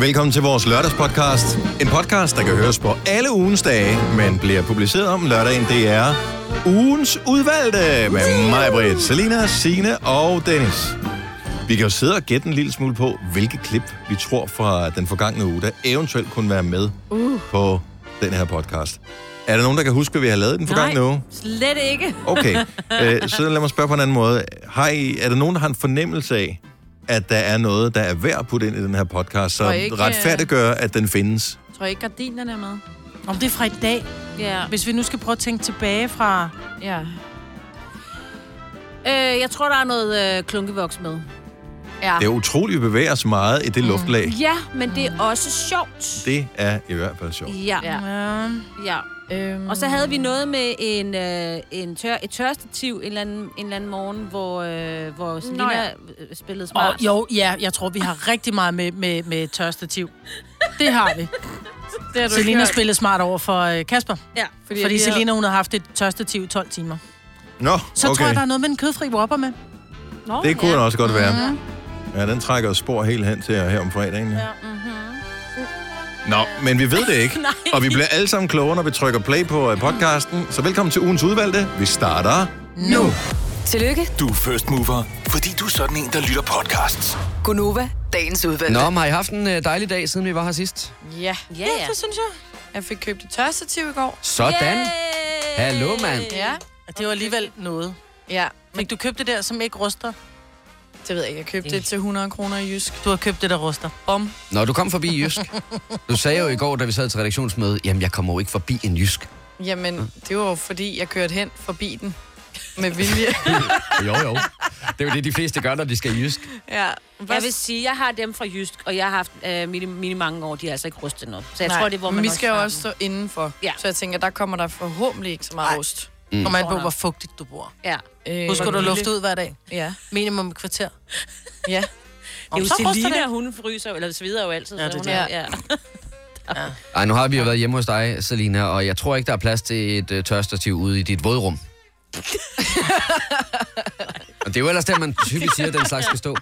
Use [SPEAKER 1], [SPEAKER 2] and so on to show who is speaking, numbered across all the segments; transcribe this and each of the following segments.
[SPEAKER 1] Velkommen til vores lørdagspodcast. En podcast, der kan høres på alle ugens dage, men bliver publiceret om lørdagen. Det er ugens udvalgte med mig, Britt, Selina, Sine og Dennis. Vi kan jo sidde og gætte en lille smule på, hvilke klip vi tror fra den forgangne uge, der eventuelt kunne være med uh. på den her podcast. Er der nogen, der kan huske, hvad vi har lavet i den forgangne uge?
[SPEAKER 2] slet ikke.
[SPEAKER 1] Okay, øh, så lad mig spørge på en anden måde. Har I, er der nogen, der har en fornemmelse af, at der er noget, der er værd at putte ind i den her podcast, som
[SPEAKER 3] Og ikke, øh,
[SPEAKER 1] retfærdiggør, at den findes?
[SPEAKER 2] Jeg tror ikke, gardinerne er med.
[SPEAKER 3] Om det er fra i dag.
[SPEAKER 2] Ja.
[SPEAKER 3] Hvis vi nu skal prøve at tænke tilbage fra...
[SPEAKER 2] ja. Øh, jeg tror, der er noget øh, klunkevoks med. Ja.
[SPEAKER 1] Det
[SPEAKER 3] Ah.
[SPEAKER 1] er utroligt, at vi bevæger os meget i det
[SPEAKER 3] Mm.
[SPEAKER 1] luftlag.
[SPEAKER 2] Ja, men det er også sjovt.
[SPEAKER 1] Det er i hvert fald sjovt.
[SPEAKER 2] Ja. ja.
[SPEAKER 3] Ja.
[SPEAKER 2] ja.
[SPEAKER 4] Øhm,
[SPEAKER 2] Og så havde vi noget med en, øh, en tør, et tørstativ en eller, anden, en eller anden morgen, hvor, øh, hvor Selina
[SPEAKER 4] ja.
[SPEAKER 2] øh, spillede smart.
[SPEAKER 3] Og, jo, ja, jeg tror, vi har rigtig meget med, med, med tørstativ. Det har vi.
[SPEAKER 4] det har du
[SPEAKER 3] Selina
[SPEAKER 4] ikke hørt.
[SPEAKER 3] spillede smart over for øh, Kasper.
[SPEAKER 2] Ja.
[SPEAKER 3] Fordi,
[SPEAKER 4] at vi
[SPEAKER 3] fordi
[SPEAKER 4] har-
[SPEAKER 3] Selina, hun har haft et tørstativ i 12 timer.
[SPEAKER 1] Nå,
[SPEAKER 3] Så okay. tror
[SPEAKER 1] okay.
[SPEAKER 3] jeg, der er noget med den kødfri Whopper med.
[SPEAKER 2] Nå,
[SPEAKER 1] Det kunne
[SPEAKER 2] ja.
[SPEAKER 1] den også godt være.
[SPEAKER 3] Mm.
[SPEAKER 1] Ja, den trækker os spor helt hen til her om fredagen. Ja.
[SPEAKER 3] mm-hmm.
[SPEAKER 1] Nå, men vi ved det ikke.
[SPEAKER 2] Nej.
[SPEAKER 1] Og vi bliver alle sammen klogere, når vi trykker play på øh, podcasten. Så velkommen til ugens udvalgte. Vi starter
[SPEAKER 3] Nu.
[SPEAKER 5] Tillykke,
[SPEAKER 6] Du er first mover, fordi du er sådan en, der lytter podcasts.
[SPEAKER 5] Gunova, dagens udvalgte.
[SPEAKER 7] Nå, men har I haft en øh, dejlig dag, siden vi var her sidst?
[SPEAKER 4] Ja.
[SPEAKER 2] Ja, ja.
[SPEAKER 3] Det synes jeg.
[SPEAKER 4] Jeg fik købt et tørstativ i går.
[SPEAKER 7] Sådan.
[SPEAKER 2] Yay!
[SPEAKER 7] Hallo, mand.
[SPEAKER 4] Ja.
[SPEAKER 3] Og Det var alligevel noget.
[SPEAKER 4] Ja.
[SPEAKER 3] Fik du købt det der, som ikke ruster?
[SPEAKER 4] Det ved jeg ikke. Jeg købte det til 100 kroner i Jysk.
[SPEAKER 3] Du har købt det, der ruster.
[SPEAKER 4] Bom.
[SPEAKER 7] Nå, du kom forbi Jysk. Du sagde jo i går, da vi sad til redaktionsmøde, jamen, jeg kommer jo ikke forbi en Jysk.
[SPEAKER 4] Jamen, det var jo fordi, jeg kørte hen forbi den. Med vilje.
[SPEAKER 7] Jo, jo. Det er jo det, de fleste gør, når de skal i Jysk.
[SPEAKER 4] ja.
[SPEAKER 2] Jeg vil sige, jeg har dem fra Jysk, og jeg har haft øh, mine, mine mange år, de er altså ikke rustet noget. Så jeg Nej, tror, det er, hvor man
[SPEAKER 4] vi skal jo
[SPEAKER 2] har
[SPEAKER 4] også stå indenfor.
[SPEAKER 2] Ja.
[SPEAKER 4] Ja. Så jeg tænker, der kommer der forhåbentlig ikke så meget Ej. rust.
[SPEAKER 3] Mm. Og man på, hvor fugtigt du bor.
[SPEAKER 2] den. Ja.
[SPEAKER 4] Øh,
[SPEAKER 3] Husk, at du lufte ud hver dag.
[SPEAKER 4] Ja.
[SPEAKER 3] Minimum et kvarter.
[SPEAKER 4] Ja.
[SPEAKER 2] Det er jo
[SPEAKER 3] så ruster
[SPEAKER 2] Selina,
[SPEAKER 3] det.
[SPEAKER 2] hun fryser, eller svider jo altid.
[SPEAKER 3] Ja, det
[SPEAKER 2] så
[SPEAKER 3] er
[SPEAKER 2] hun
[SPEAKER 4] det.
[SPEAKER 2] er- ja.
[SPEAKER 7] Ej, nu har vi jo været hjemme hos dig, Selina, og jeg tror ikke, der er plads til et øh, tørstativ ude i dit vådrum. og det er jo ellers der, man typisk siger, at den slags skal stå.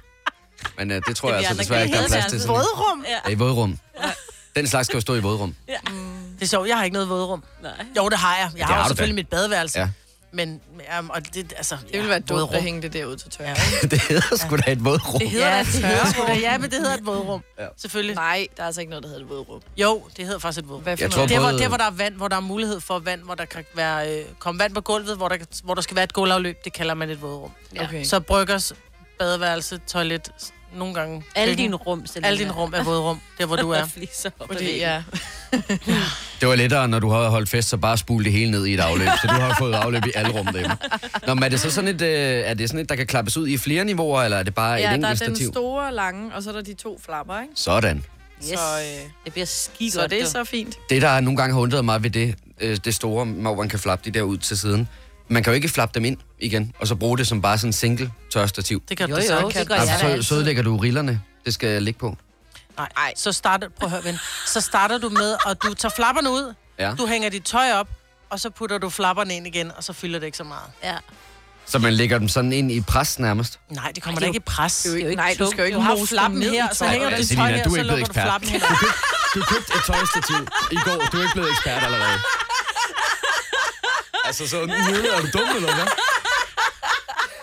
[SPEAKER 7] Men øh, det tror jeg altså
[SPEAKER 2] andre
[SPEAKER 7] desværre
[SPEAKER 2] kan
[SPEAKER 7] ikke, der er
[SPEAKER 2] hedde
[SPEAKER 7] plads
[SPEAKER 2] det
[SPEAKER 7] til.
[SPEAKER 2] altså.
[SPEAKER 7] Selina.
[SPEAKER 3] Vådrum?
[SPEAKER 7] Ja, I vådrum. Den slags skal jo stå i vådrum.
[SPEAKER 3] Det er sjovt, jeg har ikke noget vådrum.
[SPEAKER 2] Nej.
[SPEAKER 3] Jo, det har jeg. Jeg har,
[SPEAKER 7] har
[SPEAKER 3] har
[SPEAKER 7] du
[SPEAKER 3] selvfølgelig
[SPEAKER 7] da.
[SPEAKER 3] mit badeværelse.
[SPEAKER 7] Ja.
[SPEAKER 3] Men, um, og det, altså,
[SPEAKER 4] Det ville være dumt at hænge det derude til tørre.
[SPEAKER 7] det hedder sgu da et vådrum.
[SPEAKER 3] Det hedder
[SPEAKER 4] Ja,
[SPEAKER 3] ja, det
[SPEAKER 4] tørre
[SPEAKER 3] hedder sgu da, ja, men det hedder et vådrum. Ja. Selvfølgelig. Nej.
[SPEAKER 4] Nej, der er altså ikke noget, der hedder det vådrum.
[SPEAKER 3] Jo, det hedder faktisk et vådrum.
[SPEAKER 4] Hvad for
[SPEAKER 7] Jeg
[SPEAKER 4] noget?
[SPEAKER 7] tror
[SPEAKER 3] Det var
[SPEAKER 7] Både-
[SPEAKER 3] der, hvor der er vand, hvor der er mulighed for vand, hvor der kan være, øh, komme vand på gulvet, hvor der, kan- hvor der skal være et gulvafløb. Det kalder man et vådrum.
[SPEAKER 2] Ja.
[SPEAKER 4] Okay.
[SPEAKER 3] Så bryggers, badeværelse, toilet, s- nogle gange.
[SPEAKER 2] Alle
[SPEAKER 3] køkken.
[SPEAKER 2] dine rum, Selina.
[SPEAKER 3] Alle dine rum er vådrum, der hvor du
[SPEAKER 2] er
[SPEAKER 3] er.
[SPEAKER 2] fliser op ad
[SPEAKER 4] Fordi,
[SPEAKER 2] væggen.
[SPEAKER 4] ja.
[SPEAKER 7] Det var lettere, når du har holdt fest, så bare spule det hele ned i et afløb. Så du har fået afløb i alle rum derhjemme. Nå, men er det så sådan et, øh, er det sådan et, der kan klappes ud i flere niveauer, eller er det bare et
[SPEAKER 4] ja, der er
[SPEAKER 7] enkelt
[SPEAKER 4] den
[SPEAKER 7] stativ?
[SPEAKER 4] store lange, og så er der de to flapper, ikke?
[SPEAKER 7] Sådan.
[SPEAKER 2] Yes.
[SPEAKER 4] Så, øh,
[SPEAKER 2] det bliver skidt
[SPEAKER 4] så det er så fint.
[SPEAKER 7] Det, der nogle gange har undret mig ved det, øh, det store, hvor man kan flappe de der ud til siden. Man kan jo ikke flappe dem ind igen, og så bruge det som bare sådan en single tørstativ.
[SPEAKER 3] Det kan
[SPEAKER 2] Jo,
[SPEAKER 3] du
[SPEAKER 2] jo,
[SPEAKER 3] så
[SPEAKER 2] det
[SPEAKER 3] kan.
[SPEAKER 2] gør jeg.
[SPEAKER 7] Altså,
[SPEAKER 2] da
[SPEAKER 7] så,
[SPEAKER 2] altid.
[SPEAKER 7] så ødelægger du rillerne. Det skal ligge på.
[SPEAKER 3] Nej, Ej. så starter, prøv at høre, ven. Så starter du med, og du tager flapperne ud,
[SPEAKER 7] Ja.
[SPEAKER 3] du hænger dit tøj op, og så putter du flapperne ind igen, og så fylder det ikke så meget.
[SPEAKER 2] Ja.
[SPEAKER 7] Så man lægger dem sådan ind i pres nærmest.
[SPEAKER 3] Nej, det kommer da ikke i pres.
[SPEAKER 2] Det er jo ikke
[SPEAKER 4] Nej, du
[SPEAKER 2] tungt.
[SPEAKER 4] skal jo ikke
[SPEAKER 3] Du har
[SPEAKER 4] mose
[SPEAKER 3] flappen
[SPEAKER 4] ned i
[SPEAKER 3] her, så
[SPEAKER 4] tøjet.
[SPEAKER 3] hænger du dit
[SPEAKER 7] Altså, Selina,
[SPEAKER 3] tøj her,
[SPEAKER 7] du er
[SPEAKER 3] så
[SPEAKER 7] ikke blevet
[SPEAKER 3] lukker du
[SPEAKER 7] ekspert.
[SPEAKER 3] flappen her.
[SPEAKER 7] Du købte et tøjstativ i går. Du er ikke blevet ekspert allerede. Altså sådan, er du dum eller hvad?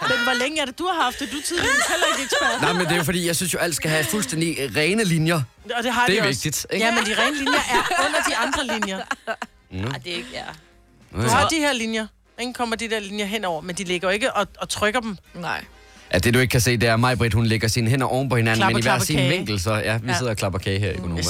[SPEAKER 3] Men hvor længe er det, du har haft det? Du er tidligere heller ikke ekspert.
[SPEAKER 7] Nej, men det er jo fordi, jeg synes jo, alt skal have fuldstændig øh, rene linjer.
[SPEAKER 3] Og det har
[SPEAKER 7] Det er
[SPEAKER 3] de også.
[SPEAKER 7] vigtigt, ikke?
[SPEAKER 3] Ja, men de rene linjer er under de andre linjer.
[SPEAKER 2] Nej, det er ikke, ja.
[SPEAKER 3] Du har de her linjer. Ingen kommer de der linjer henover, men de ligger jo ikke og, og trykker dem.
[SPEAKER 4] Nej.
[SPEAKER 7] Ja, det du ikke kan se, det er mig, Britt, hun lægger sine hænder oven på hinanden,
[SPEAKER 3] Klapper,
[SPEAKER 7] men i hver
[SPEAKER 3] klapper
[SPEAKER 7] sin
[SPEAKER 3] kage.
[SPEAKER 7] vinkel, så ja, vi
[SPEAKER 3] Ja.
[SPEAKER 7] sidder og klapper kage her i Gonova.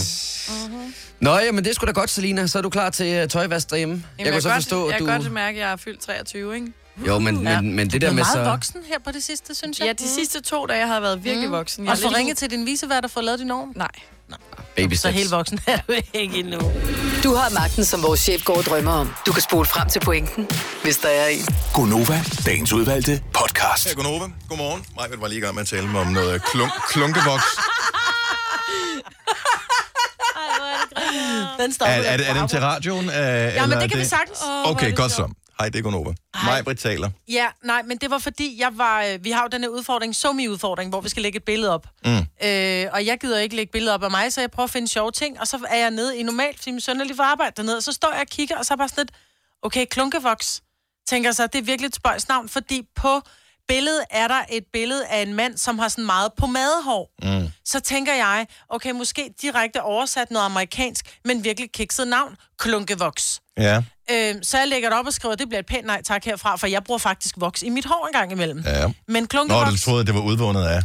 [SPEAKER 7] Nå, jamen det er sgu da godt, Selina. Så er du klar til øh, tøjvask derhjemme.
[SPEAKER 4] Jamen,
[SPEAKER 7] jeg kunne så
[SPEAKER 4] godt,
[SPEAKER 7] forstå,
[SPEAKER 4] jeg
[SPEAKER 7] at du...
[SPEAKER 4] kan godt mærke, at jeg er fyldt 23, ikke?
[SPEAKER 7] Jo, men,
[SPEAKER 3] Ja.
[SPEAKER 7] men, men det
[SPEAKER 3] Du
[SPEAKER 7] der
[SPEAKER 3] er
[SPEAKER 7] med
[SPEAKER 3] meget
[SPEAKER 7] så...
[SPEAKER 3] voksen her på det sidste, synes jeg. Mm.
[SPEAKER 4] Ja,
[SPEAKER 2] Mhm.
[SPEAKER 4] de sidste to dage har jeg været virkelig voksen. Jeg
[SPEAKER 3] Og
[SPEAKER 4] er
[SPEAKER 3] få
[SPEAKER 4] lidt-
[SPEAKER 3] ringet til din visevært og få lavet din orm.
[SPEAKER 4] Nej.
[SPEAKER 7] Baby
[SPEAKER 3] Så
[SPEAKER 7] steps.
[SPEAKER 3] helt voksen er du ikke endnu.
[SPEAKER 5] Du har magten, som vores chef går og drømmer om. Du kan spole frem til pointen, hvis der er en.
[SPEAKER 6] Gonova, dagens udvalgte podcast.
[SPEAKER 1] Her er Gunova. Godmorgen. Majbet var lige i gang med at tale om noget klunk klunkevoks.
[SPEAKER 3] Den står
[SPEAKER 1] Er, er, det, er dem til radioen? Øh,
[SPEAKER 3] Ja,
[SPEAKER 1] eller øh,
[SPEAKER 3] men det kan vi sagtens.
[SPEAKER 1] Okay, godt så. Hej, det er Gunova. Mig, Britt, taler.
[SPEAKER 3] Ja, nej, men det var fordi, jeg var, øh, vi har jo den her udfordring, somi-udfordring, hvor vi skal lægge et billede op. Mm. Øh, og jeg gider ikke lægge billeder op af mig, så jeg prøver at finde sjove ting, og så er jeg nede i normalt, fordi min søn er lige for arbejde dernede, og så står jeg og kigger, og så er bare sådan lidt, okay, klunkevoks, tænker så, det er virkelig et spøjs navn, fordi på billedet er der et billede af en mand, som har sådan meget pomadehår. Mm. Så tænker jeg, okay, måske direkte oversat noget amerikansk, men virkelig kikset navn, klunkevoks.
[SPEAKER 1] Ja.
[SPEAKER 3] Øh, så jeg lægger det op og skriver, det bliver et pænt nej tak herfra, for jeg bruger faktisk voks i mit hår en gang imellem.
[SPEAKER 1] Ja.
[SPEAKER 3] Men
[SPEAKER 1] Nå,
[SPEAKER 3] klunkevoks...
[SPEAKER 1] du troede, det var udvundet af.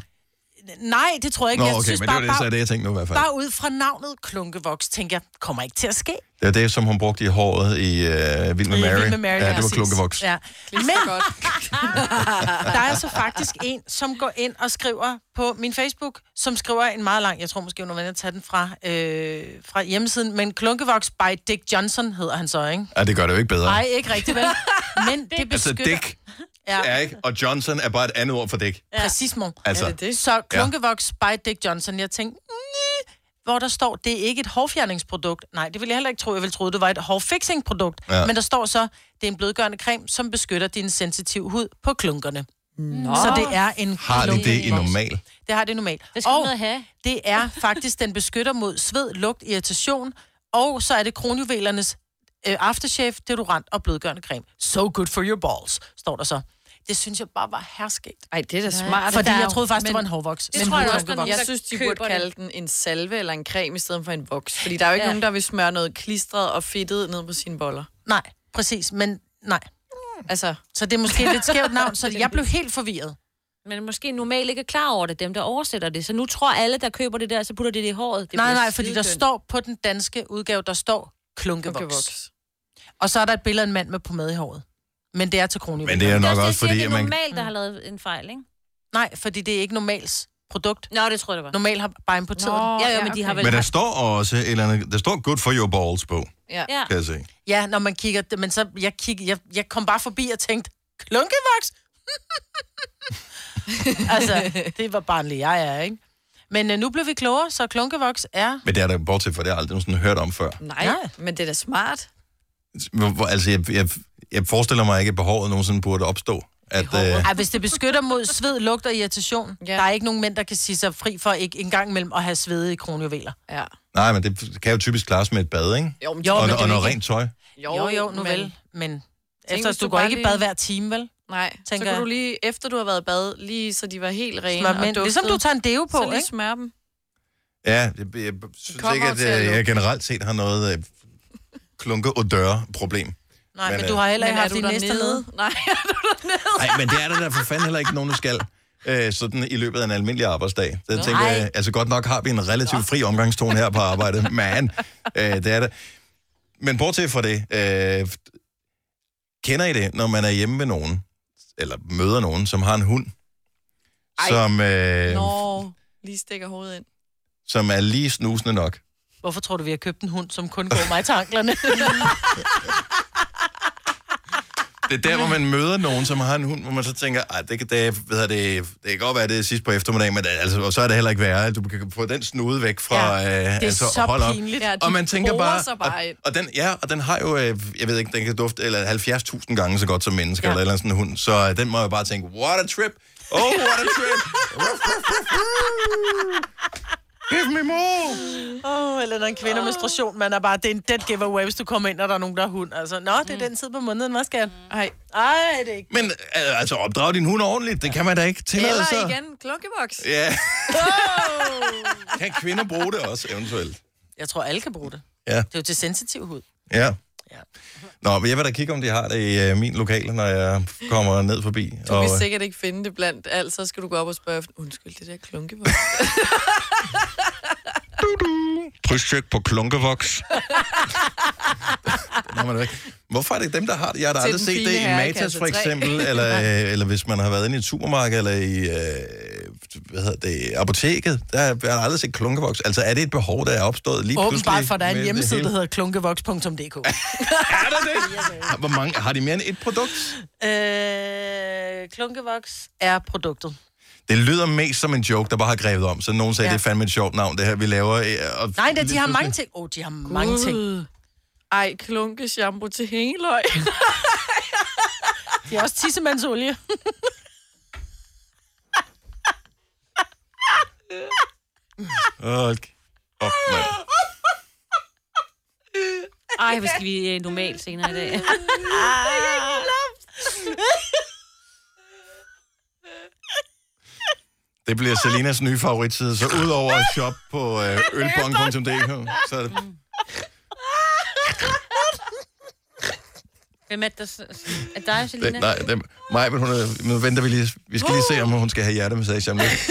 [SPEAKER 3] Nej, det tror jeg ikke.
[SPEAKER 1] Nå,
[SPEAKER 3] jeg
[SPEAKER 1] okay, men det var det, så
[SPEAKER 3] bare,
[SPEAKER 1] er det, jeg tænkte nu i hvert fald.
[SPEAKER 3] bare ud fra navnet klunkevoks, tænker jeg, kommer ikke til at ske.
[SPEAKER 1] Det er det, som hun brugte i håret i øh, Vild med Mary.
[SPEAKER 3] Jeg er vild med Mary
[SPEAKER 1] ja, det var
[SPEAKER 3] præcis.
[SPEAKER 1] klunkevoks. Ja.
[SPEAKER 3] Ja.
[SPEAKER 4] Men... godt.
[SPEAKER 3] Der er så faktisk en, som går ind og skriver på min Facebook, som skriver en meget lang, jeg tror måske, hun er venner at tage den fra, øh, fra hjemmesiden, men klunkevoks by Dick Johnson hedder han så, ikke?
[SPEAKER 1] ja, det gør det jo ikke bedre.
[SPEAKER 3] Nej, ikke rigtigt, vel? Men det
[SPEAKER 1] altså,
[SPEAKER 3] beskytter...
[SPEAKER 1] Dick er
[SPEAKER 3] Ja,
[SPEAKER 1] ikke, og Johnson er bare et andet ord for Dick.
[SPEAKER 3] præcis, mor.
[SPEAKER 1] Altså,
[SPEAKER 4] Er det det?
[SPEAKER 3] Så Klunkevoks by Dick Johnson, jeg tænkte, "Næh." hvor der står, det er ikke et hårfjerningsprodukt. Nej, det ville jeg heller ikke tro. Jeg ville tro, det var et hårfixingprodukt.
[SPEAKER 1] Ja.
[SPEAKER 3] Ja. Men der står så, det er en blødgørende creme, som beskytter din sensitive hud på klunkerne. Nå. Så det er en
[SPEAKER 1] har de det i
[SPEAKER 3] klunkevoks.
[SPEAKER 1] normal?
[SPEAKER 3] Det har det normalt.
[SPEAKER 2] Det skal man ned have.
[SPEAKER 3] det er faktisk, den beskytter mod sved, lugt, irritation, og så er det kronjuvelernes øh, aftershave, deodorant og blødgørende creme. So good for your balls, står der så. Det synes jeg bare var herskægt.
[SPEAKER 4] Ej, det er da smart.
[SPEAKER 3] Fordi
[SPEAKER 4] Der er
[SPEAKER 3] jeg
[SPEAKER 4] jo-
[SPEAKER 3] troede faktisk, det
[SPEAKER 4] men-
[SPEAKER 3] var en hårvoks.
[SPEAKER 4] Men
[SPEAKER 2] tror jeg
[SPEAKER 4] jeg,
[SPEAKER 2] også, der er
[SPEAKER 4] også,
[SPEAKER 2] nogen,
[SPEAKER 4] jeg
[SPEAKER 2] der
[SPEAKER 4] synes, de
[SPEAKER 2] køber
[SPEAKER 4] burde
[SPEAKER 2] det.
[SPEAKER 4] kalde den en salve eller en creme i stedet for en voks. Fordi der er jo ikke
[SPEAKER 2] Ja.
[SPEAKER 4] nogen, der vil smøre noget klistret og fedtet ned på sine boller.
[SPEAKER 3] Nej, præcis, men nej.
[SPEAKER 4] Altså,
[SPEAKER 3] Så det er måske et lidt skævt navn, så jeg blev helt forvirret.
[SPEAKER 2] Men måske normalt ikke er klar over det, dem der oversætter det. Så nu tror alle, der køber det der, så putter de det i håret. Det
[SPEAKER 3] Nej,
[SPEAKER 2] bliver
[SPEAKER 3] nej, fordi der
[SPEAKER 2] skidekønt.
[SPEAKER 3] står på den danske udgave, der står klunkevoks.
[SPEAKER 4] okay,
[SPEAKER 3] klunkevoks.
[SPEAKER 4] voks.
[SPEAKER 3] Og så er der et billede af en mand med pomade i håret. Men det er til kronjuvel.
[SPEAKER 1] Men det er
[SPEAKER 2] Det er
[SPEAKER 1] nok
[SPEAKER 2] også,
[SPEAKER 1] også
[SPEAKER 2] det, jeg
[SPEAKER 1] fordi,
[SPEAKER 2] siger,
[SPEAKER 1] at
[SPEAKER 2] det er
[SPEAKER 1] man...
[SPEAKER 2] normalt, der har lavet en fejl, ikke?
[SPEAKER 3] Nej, fordi det er ikke normals produkt.
[SPEAKER 2] Nå, det tror jeg, det var.
[SPEAKER 3] Normalt har bare importeret.
[SPEAKER 4] Nå.
[SPEAKER 3] Nå.
[SPEAKER 2] Ja, ja,
[SPEAKER 4] Ja,
[SPEAKER 2] men de har
[SPEAKER 4] okay.
[SPEAKER 2] vel...
[SPEAKER 1] Men der står også et eller andet... Der står good for your balls på,
[SPEAKER 4] Ja.
[SPEAKER 2] Ja.
[SPEAKER 1] kan jeg se.
[SPEAKER 3] Ja, når man kigger, men så jeg, kig, jeg, jeg kom bare forbi og tænkte, klunkevoks? altså, det var barnlig jeg er, ikke? Men øh, nu blev vi klogere, så klunkevoks er...
[SPEAKER 1] Men det er der bortset fra, det har jeg aldrig nogensinde hørt om før.
[SPEAKER 4] Nej,
[SPEAKER 3] Nej.
[SPEAKER 4] men det er da smart.
[SPEAKER 1] Hvor, hvor- altså, jeg, jeg, jeg forestiller mig ikke, at behovet nogensinde burde opstå. At, øh,
[SPEAKER 3] Ej, hvis det beskytter mod sved, lugt og irritation, ja.
[SPEAKER 4] Ja.
[SPEAKER 3] der er ikke nogen mænd, der kan sige sig fri for ikke engang mellem at have svede i kronjuveler.
[SPEAKER 4] Ja.
[SPEAKER 1] nej, men det kan jo typisk klares med et bad, ikke?
[SPEAKER 4] Jo, men,
[SPEAKER 3] Jo,
[SPEAKER 1] Og,
[SPEAKER 3] men
[SPEAKER 1] og
[SPEAKER 3] det er
[SPEAKER 1] noget
[SPEAKER 3] ikke-
[SPEAKER 1] rent tøj.
[SPEAKER 3] Jo, jo, nu
[SPEAKER 4] men-
[SPEAKER 3] vel, men... Efter,
[SPEAKER 4] hvis
[SPEAKER 3] du,
[SPEAKER 4] du
[SPEAKER 3] går
[SPEAKER 4] bare
[SPEAKER 3] ikke i
[SPEAKER 4] lige-
[SPEAKER 3] bad hver time, vel?
[SPEAKER 4] Nej, så
[SPEAKER 3] Tænker
[SPEAKER 4] kan
[SPEAKER 3] jeg.
[SPEAKER 4] du lige, efter du har været i bad, lige så de var helt rene
[SPEAKER 3] Smør
[SPEAKER 4] og
[SPEAKER 3] mænd.
[SPEAKER 4] duftede,
[SPEAKER 3] Ligesom du tager en deo på,
[SPEAKER 4] så lige
[SPEAKER 3] ikke?
[SPEAKER 4] smør dem.
[SPEAKER 1] Ja, jeg, jeg synes
[SPEAKER 4] kommer
[SPEAKER 1] ikke,
[SPEAKER 4] jo
[SPEAKER 1] at
[SPEAKER 4] til at
[SPEAKER 1] øh, jeg
[SPEAKER 4] lukke.
[SPEAKER 1] generelt set har noget øh, klunke og døre problem.
[SPEAKER 3] Nej,
[SPEAKER 1] Men,
[SPEAKER 3] men,
[SPEAKER 1] øh,
[SPEAKER 3] du har heller
[SPEAKER 4] Men
[SPEAKER 3] ikke
[SPEAKER 4] er
[SPEAKER 3] haft
[SPEAKER 4] du
[SPEAKER 3] din næste led.
[SPEAKER 4] dernede? Nej, er du dernede?
[SPEAKER 1] Nej, men det er der da for fanden heller ikke nogen, der skal. Øh, sådan i løbet af en almindelig arbejdsdag. Der tænker jeg, altså godt nok har vi en relativt fri omgangstone her på arbejdet, men øh, det er det. Men bortset fra det, øh, kender I det, når man er hjemme ved nogen, eller møder nogen, som har en hund, Ej. som,
[SPEAKER 7] Øhm.
[SPEAKER 1] øh,
[SPEAKER 4] Nå, lige stikker hovedet ind.
[SPEAKER 1] som er lige snusende nok?
[SPEAKER 3] Hvorfor tror du, vi har købt en hund, som kun går mig til anklerne?
[SPEAKER 1] Det er der, hvor man møder nogen, som har en hund, hvor man så tænker, "Ej, det kan, det, ved jeg, det, det kan godt være, det er sidst på eftermiddagen, men det, altså, og så er det heller ikke værre. Du kan få den snude væk fra... Ja, øh,
[SPEAKER 3] Det er
[SPEAKER 1] altså,
[SPEAKER 3] så
[SPEAKER 1] hold op.
[SPEAKER 3] pinligt.
[SPEAKER 4] Ja, de
[SPEAKER 1] Og man tænker
[SPEAKER 4] borer
[SPEAKER 1] bare,
[SPEAKER 4] sig bare
[SPEAKER 1] og,
[SPEAKER 4] ind.
[SPEAKER 1] og, den, ja, og den har jo, øh, jeg ved ikke, den kan dufte eller 70.000 gange så godt som mennesker, ja. eller, et eller andet sådan en hund, så øh, den må jo bare tænke, what a trip, oh, what a trip. Give me more.
[SPEAKER 3] Åh, oh, eller når en kvinde har menstruation, man er bare, det er en dead giveaway, hvis du kommer ind, og der er nogen, der har hund. Altså, nå, det er den tid på måneden, hvad skal jeg? Ej, ej, det er ikke.
[SPEAKER 1] Men øh, altså, opdrag din hund ordentligt, det kan man da ikke tillade
[SPEAKER 4] Eller
[SPEAKER 1] sig.
[SPEAKER 4] igen, klunkeboks.
[SPEAKER 1] Ja. kan kvinder bruge det også, eventuelt?
[SPEAKER 3] Jeg tror, alle kan bruge det.
[SPEAKER 1] Ja.
[SPEAKER 3] Det er jo til sensitiv hud.
[SPEAKER 1] Ja. Nå, men jeg vil da kigge, om de har det i øh, min lokale, når jeg kommer ned forbi.
[SPEAKER 4] Du
[SPEAKER 1] Og,
[SPEAKER 4] vil
[SPEAKER 1] øh,
[SPEAKER 4] sikkert ikke finde det blandt alt, så skal du gå op og spørge, undskyld, det der klunkeboks.
[SPEAKER 1] Krydstjek på klunkevoks. Den har man da ikke. Hvorfor er det ikke dem, der har det? Jeg har da
[SPEAKER 4] Til
[SPEAKER 1] aldrig
[SPEAKER 4] den
[SPEAKER 1] set
[SPEAKER 4] fine
[SPEAKER 1] det i
[SPEAKER 4] herre i
[SPEAKER 1] Matas
[SPEAKER 4] kasse
[SPEAKER 1] for
[SPEAKER 4] tre.
[SPEAKER 1] eksempel, eller, øh, eller hvis man har været inde i et supermarked, eller i øh, hvad hedder det, apoteket. Der har jeg aldrig set klunkevoks. Altså er det et behov, der er opstået lige pludselig?
[SPEAKER 3] Åbenbart, for der er en
[SPEAKER 1] med det
[SPEAKER 3] hjemmeside,
[SPEAKER 1] hele?
[SPEAKER 3] der hedder klunkevoks.dk.
[SPEAKER 1] Er der det? Hvor mange, har de mere end et produkt?
[SPEAKER 3] øh, klunkevoks er produktet.
[SPEAKER 1] Det lyder mest som en joke, der bare har grebet om. Så nogen sagde, ja.
[SPEAKER 3] Ja.
[SPEAKER 1] det er fandme et sjovt navn, det her, vi laver. øh, Og
[SPEAKER 3] Nej, da, de har mange ting. Åh, oh, de har mange ting.
[SPEAKER 4] Ej, klunke shampoo til hængeløg.
[SPEAKER 3] Det er også tissemandsolie.
[SPEAKER 1] Hold op, mand.
[SPEAKER 2] Ej, hvor skal vi øh, normalt senere i dag.
[SPEAKER 1] Det bliver Selinas nye favoritside, så udover at shoppe på øh, ølbong.dk, så er det...
[SPEAKER 2] Hvem er det, der... s- s- Er dig,
[SPEAKER 1] det
[SPEAKER 2] Selina?
[SPEAKER 1] nej, det, Maja, men hun er, nu venter vi lige. Vi skal lige se, om hun skal have hjertemassage om lidt.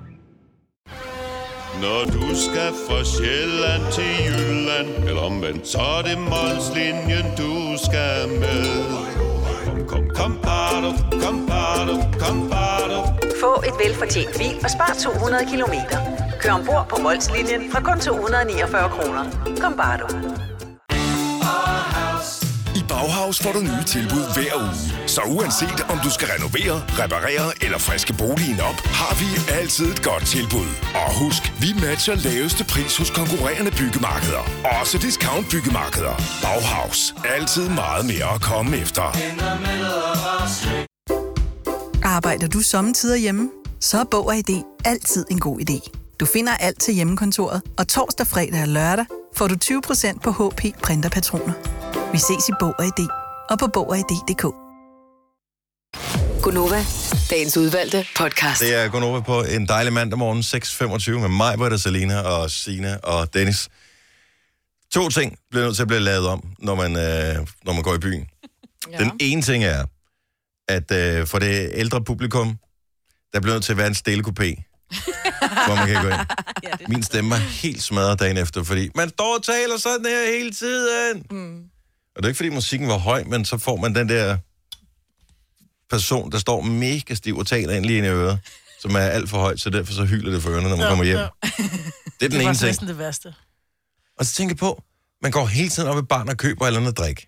[SPEAKER 8] Når du skal fra Sjælland til Jylland Eller omvendt, så er det Molslinjen, du skal med Kom, kom, kom, bado, kom, bado, kom, bado.
[SPEAKER 9] Få et velfortjent bil og spar 200 kilometer. Kør ombord på Molslinjen fra kun 249 kroner. Kom bare du.
[SPEAKER 6] I Bauhaus får du nye tilbud hver uge. Så uanset om du skal renovere, reparere eller friske boligen op, har vi altid et godt tilbud. Og husk, vi matcher laveste pris hos konkurrerende byggemarkeder. Også discount byggemarkeder. Bauhaus. Altid meget mere at komme efter.
[SPEAKER 10] Arbejder du sommetider hjemme? Så er Bog og ID altid en god idé. Du finder alt til hjemmekontoret, og torsdag, fredag og lørdag får du 20% på HP printerpatroner. Vi ses i Bog og ID og på Bog og ID.dk.
[SPEAKER 5] Gunova, dagens udvalgte podcast.
[SPEAKER 1] Det er Gunova på en dejlig mandag morgen, 6.25, med mig, Britta, Selina og Sina og Dennis. To ting bliver nødt til at blive lavet om, når man, øh, når man går i byen. Ja. Den ene ting er, at øh, for det ældre publikum, der bliver nødt til at være en stille kupé, hvor man kan gå ind. Min stemme er helt smadret dagen efter, fordi man står og taler sådan her hele tiden. Mm. Og det er ikke, fordi musikken var høj, men så får man den der person, der står mega stiv og taler ind lige ind i øret, som er alt for højt, så derfor så hyler det for ørerne, når man kommer hjem.
[SPEAKER 3] Ja.
[SPEAKER 1] Det er den
[SPEAKER 3] Det
[SPEAKER 1] ene
[SPEAKER 3] var
[SPEAKER 1] ting.
[SPEAKER 3] næsten det værste.
[SPEAKER 1] Og så tænker jeg på, man går hele tiden op i barn og køber et eller andet drik.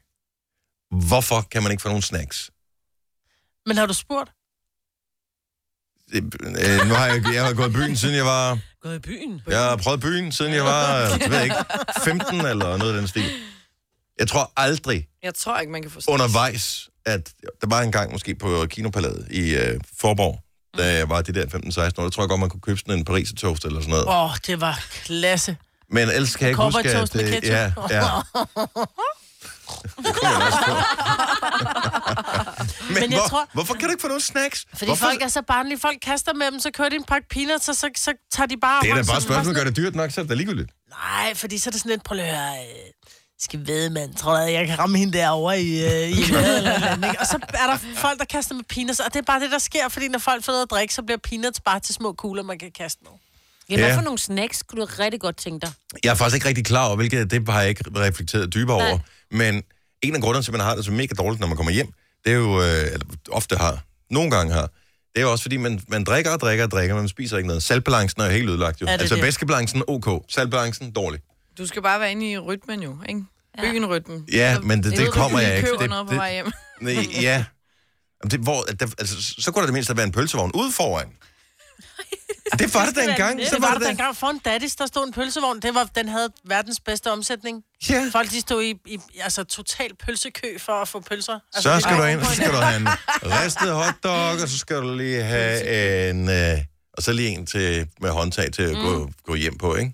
[SPEAKER 1] Hvorfor kan man ikke få nogle snacks?
[SPEAKER 3] Men har du spurgt?
[SPEAKER 1] Det, øh, nu har jeg, jeg har gået i byen, siden jeg var...
[SPEAKER 3] Gået i byen?
[SPEAKER 1] Jeg har prøvet byen, siden jeg var, øh, jeg ved ikke, 15 eller noget af den stil. Jeg tror aldrig
[SPEAKER 4] Jeg tror ikke, man kan forstå.
[SPEAKER 1] undervejs, at der var en gang måske på Kinopaladet i øh, Forborg, da jeg var de der 15-16 år, der tror jeg godt, man kunne købe sådan en pariser toast eller sådan noget.
[SPEAKER 3] Åh, oh, det var klasse.
[SPEAKER 1] Men ellers kan jeg ikke huske,
[SPEAKER 3] Cowboy
[SPEAKER 1] at...
[SPEAKER 3] toast med
[SPEAKER 1] øh,
[SPEAKER 3] ketchup.
[SPEAKER 1] ja, ja. Det kunne man også få. Men,
[SPEAKER 3] Men jeg
[SPEAKER 1] hvor,
[SPEAKER 3] tror-
[SPEAKER 1] hvorfor kan du ikke få nogle snacks?
[SPEAKER 3] Fordi
[SPEAKER 1] hvorfor?
[SPEAKER 3] Hvorfor? folk er så barnlige. Folk kaster med dem, så kører de en pakke peanuts, og så, så tager de bare...
[SPEAKER 1] Det er da
[SPEAKER 3] håndsen
[SPEAKER 1] bare et spørgsmål,
[SPEAKER 3] og
[SPEAKER 1] gør det dyrt nok, så er det da ligegyldigt.
[SPEAKER 3] sådan- Nej, fordi så er det sådan lidt, prøv lige at høre, øh, skal ved, mand. Tror du, jeg kan ramme hende derovre i, øh, i øret eller, et eller andet, ikke? Og så er der folk, der kaster med peanuts, og det er bare det, der sker, fordi når folk får noget at drikke, så bliver peanuts bare til små kugler, man kan kaste med.
[SPEAKER 2] Ja,
[SPEAKER 1] Ja.
[SPEAKER 2] hvad for nogle snacks skulle du rigtig godt tænke dig?
[SPEAKER 1] Jeg er faktisk ikke rigtig klar over, hvilket det har jeg ikke reflekteret dybere
[SPEAKER 2] Nej.
[SPEAKER 1] over. Men en af grunderne til, at man har det så mega dårligt, når man kommer hjem, det er jo, øh, eller ofte har, nogle gange har, det er jo også fordi, man, man drikker og drikker og drikker, men man spiser ikke noget. Saltbalancen er jo helt ødelagt jo.
[SPEAKER 3] Ja, det er
[SPEAKER 1] altså
[SPEAKER 3] det.
[SPEAKER 1] væskebalancen, ok. Saltbalancen, dårlig.
[SPEAKER 4] Du skal bare være inde i rytmen jo, ikke? Bygge en rytme.
[SPEAKER 1] Ja, men det- det
[SPEAKER 4] ved du,
[SPEAKER 1] kommer
[SPEAKER 4] du
[SPEAKER 1] jeg ikke.
[SPEAKER 4] køber
[SPEAKER 1] Det-
[SPEAKER 4] noget på
[SPEAKER 1] det-
[SPEAKER 4] vej hjem.
[SPEAKER 1] Nej, ja. Jamen, Det, hvor, at der, altså, så kunne der det mindste være en pølsevogn ude foran. Det var det da engang. Så
[SPEAKER 3] Det var der da engang for en daddies, der stod en pølsevogn. Det var, den havde verdens bedste omsætning.
[SPEAKER 1] Ja.
[SPEAKER 3] Folk, de stod i, i altså, total pølsekø for at få pølser. Altså,
[SPEAKER 1] Så
[SPEAKER 3] det
[SPEAKER 1] skal
[SPEAKER 3] var
[SPEAKER 1] du ind, og
[SPEAKER 3] ovenpå
[SPEAKER 1] så skal du
[SPEAKER 3] hinanden.
[SPEAKER 1] have en ristet hotdog, og så skal du lige have en... Øh, og så lige en til, med håndtag til at gå, gå hjem på, ikke?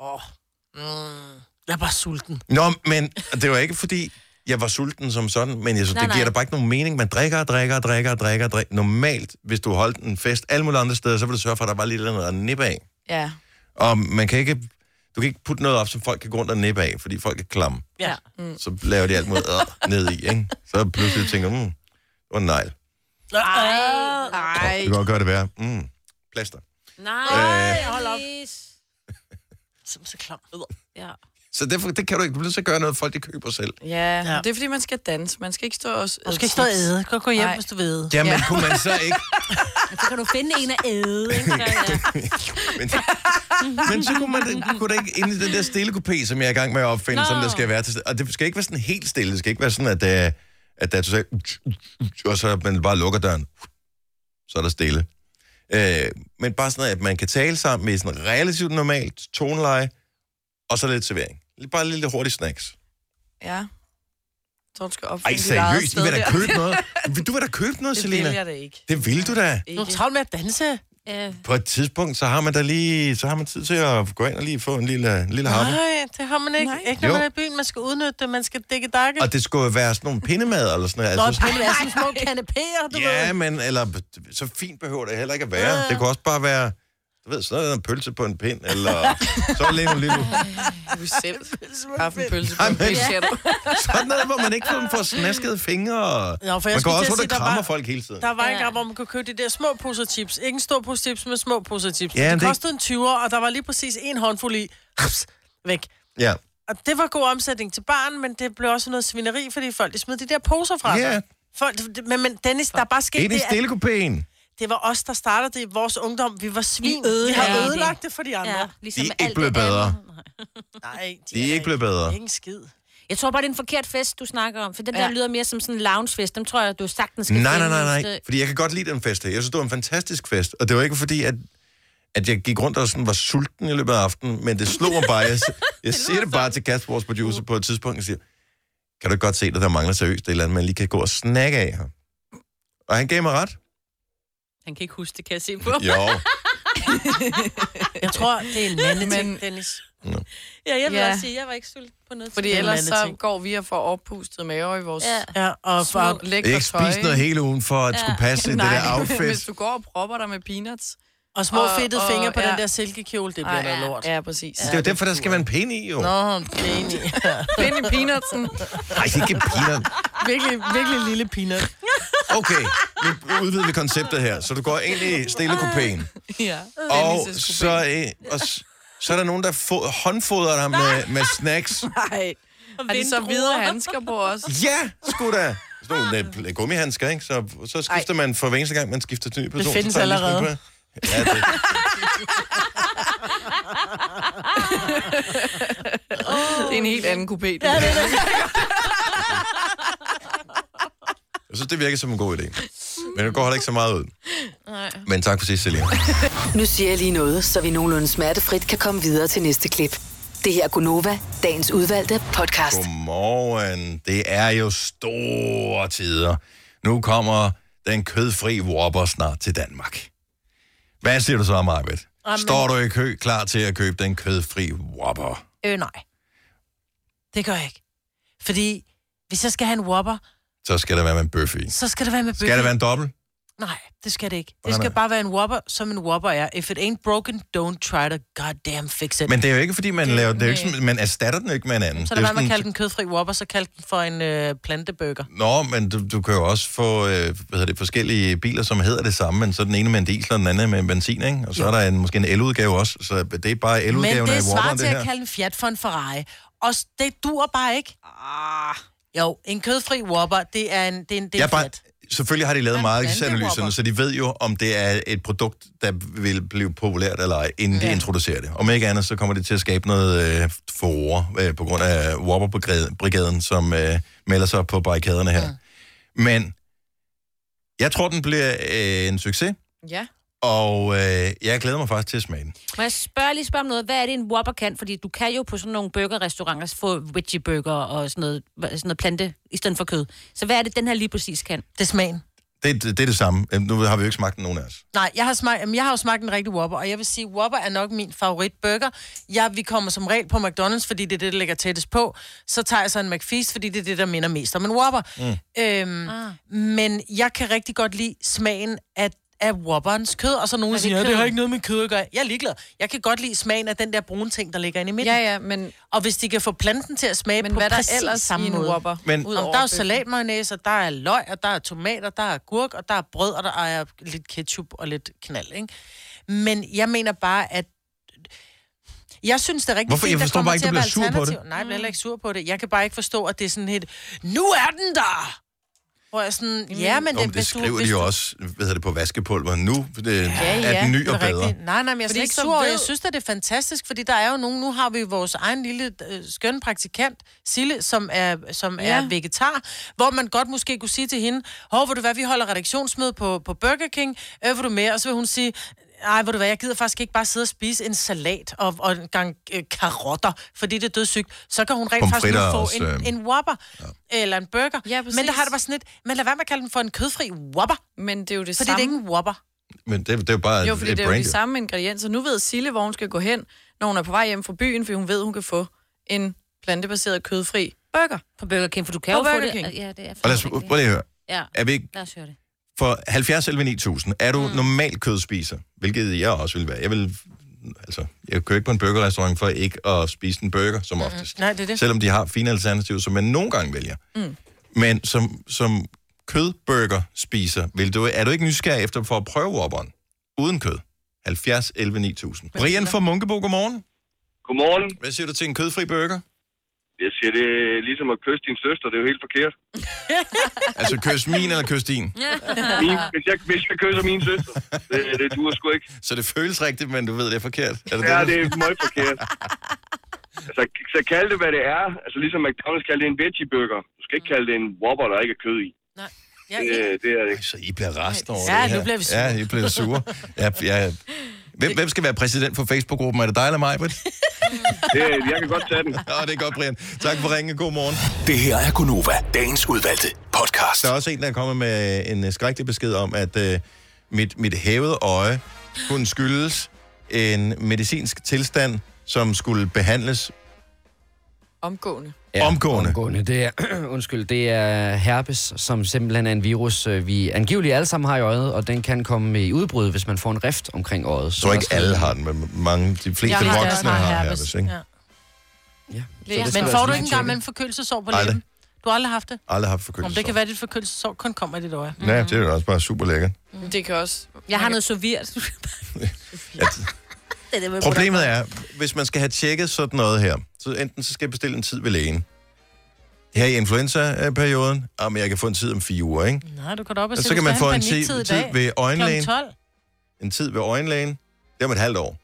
[SPEAKER 3] Åh. Mm. Jeg er bare sulten.
[SPEAKER 1] Nå, men det var ikke fordi, jeg var sulten som sådan, men jeg, så,
[SPEAKER 2] Nej,
[SPEAKER 1] det giver
[SPEAKER 2] nej.
[SPEAKER 1] da bare ikke nogen mening. Man drikker og drikker og drikker og drikker og drikker. Normalt, hvis du holdt en fest alle mulige andre steder, så ville du sørge for, at der var lidt eller andet at nippe af.
[SPEAKER 4] Ja.
[SPEAKER 1] Og man kan ikke... Du kan ikke putte noget op, som folk kan gå rundt og nippe af, fordi folk er klamme.
[SPEAKER 3] Ja.
[SPEAKER 1] Så laver de alt muligt øh, ned i, ikke? Så pludselig tænker jeg, mm, det var en negl.
[SPEAKER 3] Ej.
[SPEAKER 1] Det
[SPEAKER 4] Ej.
[SPEAKER 1] kan godt gøre det værre. Mm, plaster.
[SPEAKER 2] Nej,
[SPEAKER 1] Øh.
[SPEAKER 2] hold op.
[SPEAKER 3] Som så klam.
[SPEAKER 2] Ja.
[SPEAKER 1] Så derfor, det kan du ikke. Du bliver så gøre noget, folk de køber selv.
[SPEAKER 4] Ja, ja. det er fordi, man skal danse. Man skal ikke stå og
[SPEAKER 3] Du skal ikke stå og æde. Du kan gå hjem, hvis du vil æde.
[SPEAKER 1] Jamen, ja. kunne man så ikke...
[SPEAKER 2] Så kan du finde en at æde, ikke? Så, ja.
[SPEAKER 1] Men, men så kunne man det- kunne det ikke ind i den der stille coupé, som jeg er i gang med at opfinde,
[SPEAKER 2] Nå.
[SPEAKER 1] Nå. som der skal være til stede. Og det skal ikke være sådan helt stille. Det skal ikke være sådan, at, øh, at der er totalt... Og så man bare lukker døren. Så er der stille. Øh, men bare sådan, at man kan tale sammen med sådan relativt normalt toneleje, og så lidt servering. Bare lidt hurtig snacks.
[SPEAKER 4] Ja. Så hun skal opfinde
[SPEAKER 1] Ej, seriøst, du vil da købe noget. Du vil da købe noget,
[SPEAKER 3] Det
[SPEAKER 1] Selina.
[SPEAKER 3] vil jeg da ikke.
[SPEAKER 1] Det vil du da.
[SPEAKER 3] Du er travlt med at danse.
[SPEAKER 2] Øh.
[SPEAKER 1] På et tidspunkt, så har man da lige, så har man tid til at gå ind og lige få en lille, en lille hammer.
[SPEAKER 3] Nej, det har man ikke. Ikke når
[SPEAKER 1] Jo.
[SPEAKER 3] man er i byen. Man skal udnytte det. Man skal dække dakke.
[SPEAKER 1] Og det skulle jo være sådan nogle pindemad eller sådan noget.
[SPEAKER 3] Nå,
[SPEAKER 1] Altså,
[SPEAKER 3] pille er sådan små kanapéer, du ved.
[SPEAKER 1] ja, men eller, så fint behøver det heller ikke at være. Det kunne også bare være, du ved, sådan noget, en pølse på en pind, eller så er det en lille...
[SPEAKER 4] Du selv haft en pølse på
[SPEAKER 1] Ej,
[SPEAKER 4] en
[SPEAKER 1] men-
[SPEAKER 4] pølse.
[SPEAKER 1] Sådan noget, hvor man ikke sådan får snaskede fingre.
[SPEAKER 3] Nå, for jeg
[SPEAKER 1] man går
[SPEAKER 3] skulle
[SPEAKER 1] også rundt
[SPEAKER 3] til at
[SPEAKER 1] og
[SPEAKER 3] sige, der
[SPEAKER 1] krammer
[SPEAKER 3] var-
[SPEAKER 1] folk hele tiden.
[SPEAKER 3] Der var en gang, hvor man kunne købe de der små poser chips. Ikke en stor pose chips, men små poser chips.
[SPEAKER 1] Ja,
[SPEAKER 3] Ja, det
[SPEAKER 1] det-
[SPEAKER 3] kostede en 20'er, og der var lige præcis en håndfuld i. Haps, væk.
[SPEAKER 1] Ja.
[SPEAKER 3] Og det var god omsætning til barn, men det blev også noget svineri, fordi folk de smed de der poser fra sig.
[SPEAKER 1] Ja.
[SPEAKER 3] Folk, men, men Dennis, der er bare sket
[SPEAKER 1] Ind i
[SPEAKER 3] det, at
[SPEAKER 1] stillekopæen.
[SPEAKER 3] det var os, der startede det i vores ungdom. Vi var svin.
[SPEAKER 2] Vi ødelagde
[SPEAKER 3] Vi har
[SPEAKER 2] det.
[SPEAKER 3] ødelagt det for de andre.
[SPEAKER 2] Ja,
[SPEAKER 3] Ja.
[SPEAKER 1] De
[SPEAKER 2] ligesom
[SPEAKER 1] er
[SPEAKER 2] alt
[SPEAKER 1] ikke blevet
[SPEAKER 2] det andet.
[SPEAKER 1] bedre.
[SPEAKER 3] Nej,
[SPEAKER 1] De er ikke blevet bedre.
[SPEAKER 3] ingen skid.
[SPEAKER 2] Jeg tror bare, det er en forkert fest, du snakker om. For den der
[SPEAKER 3] Ja.
[SPEAKER 2] lyder mere som sådan en loungefest. Dem tror jeg, du sagtens skal
[SPEAKER 1] Nej, nej,
[SPEAKER 2] finde
[SPEAKER 1] nej,
[SPEAKER 2] et
[SPEAKER 1] nej.
[SPEAKER 2] sted.
[SPEAKER 1] Fordi jeg kan godt lide den fest her. Jeg synes, det var en fantastisk fest. Og det var ikke fordi, at, at jeg gik rundt og sådan var sulten i løbet af aftenen, men det slog mig bare. Jeg, jeg siger det bare til Kasper, vores producer, på et tidspunkt, og siger, kan du ikke godt se, at der mangler seriøst et eller andet, man lige kan gå og snakke af her? Og han gav mig ret.
[SPEAKER 2] Han kan ikke huske det, kan jeg se på.
[SPEAKER 1] Jo.
[SPEAKER 3] Jeg tror, det er en mandeting,
[SPEAKER 4] Men-
[SPEAKER 3] Dennis.
[SPEAKER 2] Ja, jeg vil
[SPEAKER 4] Ja.
[SPEAKER 2] også sige, jeg var ikke sulten på noget
[SPEAKER 4] Fordi
[SPEAKER 2] tidspunkt.
[SPEAKER 4] ellers så
[SPEAKER 3] mandeting.
[SPEAKER 4] går vi og får oppustet maver i vores
[SPEAKER 2] Ja.
[SPEAKER 3] Ja, og
[SPEAKER 4] små,
[SPEAKER 3] for,
[SPEAKER 4] lækre
[SPEAKER 1] Ikke
[SPEAKER 4] tøj.
[SPEAKER 1] spist noget hele ugen for at
[SPEAKER 2] Ja.
[SPEAKER 1] skulle passe det der
[SPEAKER 4] hvis
[SPEAKER 1] outfit.
[SPEAKER 4] du går og propper dig med peanuts.
[SPEAKER 3] og små
[SPEAKER 4] Og-
[SPEAKER 3] fedtede
[SPEAKER 4] og-
[SPEAKER 3] fingre på
[SPEAKER 4] ja.
[SPEAKER 3] den der silkekjole, det bliver
[SPEAKER 4] Ej,
[SPEAKER 3] noget lort.
[SPEAKER 4] Ja, præcis.
[SPEAKER 1] Det er jo derfor, der skal være en pind i, jo.
[SPEAKER 3] Nå, det er egentlig...
[SPEAKER 4] Find i peanutsen.
[SPEAKER 1] Nej, ikke pinerne.
[SPEAKER 3] virkelig, virkelig lille peanut.
[SPEAKER 1] Okay, nu udvider vi konceptet her. Så du går ind i stillekopæen.
[SPEAKER 4] Ja.
[SPEAKER 1] Og
[SPEAKER 4] Dennis'
[SPEAKER 1] så, øh, og s- så er der nogen, der fo- håndfodrer dig med, med snacks.
[SPEAKER 4] Nej. Har de så videre handsker på os?
[SPEAKER 1] Ja, sgu da! Sådan nogle lidt- lidt gummihandsker, ikke? Så, så skifter man for hver eneste gang, man skifter til en ny person. så
[SPEAKER 3] findes
[SPEAKER 1] tager man lige
[SPEAKER 3] allerede.
[SPEAKER 1] sådan en på. Ja, det,
[SPEAKER 4] Det er en helt anden kupé. Det
[SPEAKER 1] jeg synes, det virker som en god idé. Men det går heller ikke så meget ud. Men tak for sidst, Selina.
[SPEAKER 5] Nu siger jeg lige noget, så vi nogenlunde smertefrit kan komme videre til næste klip. Det her er Gunova, dagens udvalgte podcast.
[SPEAKER 1] Godmorgen. Det er jo store tider. Nu kommer den kødfri Whopper snart til Danmark. Hvad siger du så, Marvitt? Står du i kø klar til at købe den kødfri Whopper?
[SPEAKER 3] Øh, nej. Det gør jeg ikke. Fordi hvis jeg skal have en Whopper,
[SPEAKER 1] Så skal der være med en bøf i.
[SPEAKER 3] så skal det være med bøf.
[SPEAKER 1] Skal der være en dobbelt?
[SPEAKER 3] Nej, det skal det ikke. Det
[SPEAKER 1] Hvordan
[SPEAKER 3] skal
[SPEAKER 1] er-
[SPEAKER 3] bare være en Whopper, som en Whopper er. If it ain't broken, don't try to goddamn fix it.
[SPEAKER 1] Men det er jo ikke, fordi man, laver, det er jo ikke, sådan- man erstatter den jo ikke med en anden.
[SPEAKER 3] så
[SPEAKER 1] Det
[SPEAKER 3] lad
[SPEAKER 1] er
[SPEAKER 3] være med at
[SPEAKER 1] sådan-
[SPEAKER 3] kalde den kødfri Whopper, så kald den for en øh, planteburger.
[SPEAKER 1] Nå, men du, du kan jo også få øh, hvad hedder det, forskellige biler, som hedder det samme, men så er den ene med en diesel, og den anden med en benzin, ikke? Og så er der en, måske en el-udgave også, så det er bare
[SPEAKER 3] Men
[SPEAKER 1] el-udgaven af
[SPEAKER 3] det svarer
[SPEAKER 1] Whopperen,
[SPEAKER 3] til
[SPEAKER 1] det
[SPEAKER 3] at
[SPEAKER 1] her.
[SPEAKER 3] kalde en Fiat for en Ferrari. Og s- det duer bare ikke. Ah. Jo, en kødfri Whopper, det er en, det er en, det er
[SPEAKER 1] Jeg
[SPEAKER 3] en
[SPEAKER 1] bare,
[SPEAKER 3] Fiat.
[SPEAKER 1] selvfølgelig har de lavet
[SPEAKER 3] en
[SPEAKER 1] markedsanalyserne,
[SPEAKER 3] planteropper.
[SPEAKER 1] så de ved jo, om det er et produkt, der vil blive populært eller ej, inden ja. de
[SPEAKER 3] Ja.
[SPEAKER 1] introducerer det. Om ikke andet, så kommer det til at skabe noget øh, forår øh, på grund af Whopper-brigaden, som øh, melder sig på barrikaderne her. Mm. Men jeg tror, den bliver øh, en succes,
[SPEAKER 4] Ja.
[SPEAKER 1] og øh, jeg glæder mig faktisk til at smage den.
[SPEAKER 2] Må jeg spørge, lige spørge om noget? Hvad er det, en Whopper kan? Fordi du kan jo på sådan nogle burgerrestauranter få veggie burger og sådan noget, hva- sådan noget plante i stedet for kød. Så hvad er det, den her lige præcis kan?
[SPEAKER 3] Det er smagen.
[SPEAKER 1] Det, det, det er det samme. Øhm, Nu har vi jo ikke smagt den, nogen af os.
[SPEAKER 3] Nej, jeg har, smagt, jamen, jeg har jo smagt en rigtig Whopper, og jeg vil sige, Whopper er nok min favoritburger. Jeg, vi kommer som regel på McDonald's, fordi det er det, der ligger tættest på. Så tager jeg så en McFeast, fordi det er det, der minder mest om en Whopper. Mm. Øhm, ah. Men jeg kan rigtig godt lide smagen af, af Whopperens kød, og så nogen
[SPEAKER 4] det
[SPEAKER 3] siger, ja, det
[SPEAKER 4] kød?"
[SPEAKER 3] har ikke noget med kød at gøre. Jeg er ligeglad. Jeg kan godt lide smagen af den der brune ting, der ligger inde i midten.
[SPEAKER 4] Ja,
[SPEAKER 3] Ja, ja.
[SPEAKER 4] ja, men,
[SPEAKER 3] Og hvis de kan få planten til at smage
[SPEAKER 4] men
[SPEAKER 3] på
[SPEAKER 4] hvad er der
[SPEAKER 3] præcis
[SPEAKER 4] ellers
[SPEAKER 3] samme
[SPEAKER 4] i en
[SPEAKER 3] måde.
[SPEAKER 4] whopper?
[SPEAKER 1] Men-
[SPEAKER 4] ud
[SPEAKER 3] Om,
[SPEAKER 4] over
[SPEAKER 3] der er jo
[SPEAKER 4] bøffen?
[SPEAKER 3] salatmayonnaise, og der er løg, og der er tomater, der er gurk, og der er brød, og der er lidt ketchup og lidt knald, ikke? Men jeg mener bare, at Jeg synes, det er rigtig
[SPEAKER 1] Hvorfor? Jeg
[SPEAKER 3] fint, der
[SPEAKER 1] forstår
[SPEAKER 3] kommer
[SPEAKER 1] bare ikke,
[SPEAKER 3] til
[SPEAKER 1] du
[SPEAKER 3] at
[SPEAKER 1] bliver
[SPEAKER 3] være
[SPEAKER 1] sur på det.
[SPEAKER 3] alternativer. Nej, jeg bliver heller ikke sur på det. Jeg kan bare ikke forstå, at det er sådan et, nu er den der! Hvor jeg sådan, ja, men
[SPEAKER 1] Nå, men det
[SPEAKER 3] hvis du-
[SPEAKER 1] skriver
[SPEAKER 3] hvis
[SPEAKER 1] de jo
[SPEAKER 3] du-
[SPEAKER 1] også, hvad hedder det, på vaskepulver nu, for det
[SPEAKER 3] Ja,
[SPEAKER 1] er
[SPEAKER 3] ja,
[SPEAKER 1] den ny
[SPEAKER 3] det
[SPEAKER 1] og
[SPEAKER 3] er
[SPEAKER 1] bedre.
[SPEAKER 3] rigtigt. Nej, nej, men jeg er
[SPEAKER 4] Fordi
[SPEAKER 3] slet ikke
[SPEAKER 4] så
[SPEAKER 3] sur. Ved...
[SPEAKER 4] ved-
[SPEAKER 3] Jeg synes, at det er fantastisk, fordi der er jo nogen... Nu har vi jo vores egen lille øh, skøn praktikant, Sille, som er, som ja. er vegetar, hvor man godt måske kunne sige til hende, hov, vil du hvad, vi holder redaktionsmøde på, på Burger King, øh, vil du med? Og så vil hun sige, ej, ved du hvad, jeg gider faktisk ikke bare sidde og spise en salat og, og en gang øh, karotter, fordi det er dødssygt. Så kan hun rent faktisk nu
[SPEAKER 1] Pomfritter
[SPEAKER 3] få
[SPEAKER 1] også,
[SPEAKER 3] en,
[SPEAKER 1] øh,
[SPEAKER 3] en Whopper ja. eller en burger. Ja, men
[SPEAKER 4] præcis.
[SPEAKER 3] der har det bare sådan lidt, men lad være med at kalde den for en kødfri Whopper.
[SPEAKER 4] Men det er jo det
[SPEAKER 3] fordi
[SPEAKER 4] samme.
[SPEAKER 3] det er ikke en Whopper.
[SPEAKER 1] Men det, det er jo bare
[SPEAKER 4] Jo,
[SPEAKER 1] et,
[SPEAKER 4] fordi
[SPEAKER 1] et
[SPEAKER 4] det er jo
[SPEAKER 1] brand.
[SPEAKER 4] de
[SPEAKER 1] jo.
[SPEAKER 4] samme ingredienser. Nu ved Sille, hvor hun skal gå hen, når hun er på vej hjem fra byen, fordi hun ved, hun kan få en plantebaseret kødfri burger.
[SPEAKER 2] På Burger King, for du kan
[SPEAKER 4] på
[SPEAKER 2] jo få
[SPEAKER 4] Burger
[SPEAKER 2] det-
[SPEAKER 4] King.
[SPEAKER 2] Ja, det er
[SPEAKER 1] Og lad os, prøv lige at høre.
[SPEAKER 2] Ja,
[SPEAKER 1] Er vi ikke
[SPEAKER 2] lad os høre det.
[SPEAKER 1] for 70 11 9000, er du mm. normal kødspiser, hvilket jeg også vil være. Jeg vil, altså, jeg kører ikke på en burgerrestaurant for ikke at spise en burger, som oftest.
[SPEAKER 3] Nej, det er det.
[SPEAKER 1] Selvom de har fine alternativer, som man nogle gange vælger.
[SPEAKER 3] Mm.
[SPEAKER 1] Men som, som kødburger spiser, vil du, er du ikke nysgerrig efter for at prøve Whopperen? Uden kød. 70 11 9000. Brian fra Munkebo, godmorgen.
[SPEAKER 11] Godmorgen.
[SPEAKER 1] Hvad siger du til en kødfri burger?
[SPEAKER 11] Jeg siger, det er ligesom at kysse din søster, det er jo helt forkert.
[SPEAKER 1] Altså kys min eller kys din?
[SPEAKER 11] Min, hvis, jeg, hvis jeg kysser min søster, det, det duer sgu ikke.
[SPEAKER 1] Så det føles rigtigt, men du ved, det er forkert.
[SPEAKER 11] Ja,
[SPEAKER 1] Er du-
[SPEAKER 11] det er meget forkert. Altså, så kald det, hvad det er. Altså, ligesom McDonald's kalder det en veggie burger. Du skal ikke kalde det en Whopper, der ikke er kød i.
[SPEAKER 3] Ja,
[SPEAKER 11] Det, det er det ikke.
[SPEAKER 1] Så I bliver rast over
[SPEAKER 11] Ja,
[SPEAKER 1] det her.
[SPEAKER 11] nu bliver vi sure.
[SPEAKER 1] Ja, I bliver sure. Ja, ja. Hvem, hvem skal være præsident for Facebook-gruppen? Er det dig eller mig, Britt?
[SPEAKER 11] det jeg kan godt tage den.
[SPEAKER 1] Ja, det er godt, Brian. Tak for ringen. God morgen.
[SPEAKER 6] Det her er Gunova, dagens udvalgte podcast.
[SPEAKER 1] Der er også en, der er kommet med en øh, skrækkelig besked om, at øh, mit, mit hævede øje kunne skyldes en medicinsk tilstand, som skulle behandles
[SPEAKER 4] Omgående.
[SPEAKER 1] ja, omgående.
[SPEAKER 7] omgående. Det er, undskyld, det er herpes, som simpelthen er en virus, øh, vi angiveligt alle sammen har i øjet, og den kan komme i udbrud, hvis man får en rift omkring øjet.
[SPEAKER 1] Jeg tror ikke alle har den, men mange, de fleste voksne har herpes, ikke?
[SPEAKER 3] Ja.
[SPEAKER 7] det skal
[SPEAKER 3] Men
[SPEAKER 7] vi
[SPEAKER 3] får
[SPEAKER 7] også
[SPEAKER 3] du
[SPEAKER 7] lige
[SPEAKER 3] ikke engang med en forkølelsesår på
[SPEAKER 1] Aldrig.
[SPEAKER 3] læben? Du har aldrig haft det?
[SPEAKER 1] Aldrig haft
[SPEAKER 3] Om det
[SPEAKER 1] forkølelse.
[SPEAKER 3] kan være, at dit forkølelsesår kun kommer i dit øje.
[SPEAKER 1] Ja, det er jo også bare super lækkert.
[SPEAKER 4] Det kan også...
[SPEAKER 2] Jeg har noget sovirt.
[SPEAKER 1] Problemet er, hvis man skal have tjekket sådan noget her, så enten så skal jeg bestille en tid ved lægen. Her i influenza-perioden, om jeg kan få en tid om fire uger, ikke?
[SPEAKER 3] Nej, du kan da op og
[SPEAKER 1] Og
[SPEAKER 3] se,
[SPEAKER 1] så kan
[SPEAKER 3] hvis
[SPEAKER 1] man
[SPEAKER 3] der
[SPEAKER 1] få
[SPEAKER 3] er
[SPEAKER 1] en tid,
[SPEAKER 3] paniktid i
[SPEAKER 1] tid
[SPEAKER 3] dag.
[SPEAKER 1] ved øjenlægen.
[SPEAKER 3] Klokken 12.
[SPEAKER 1] En tid ved øjenlægen. Det er om et halvt år.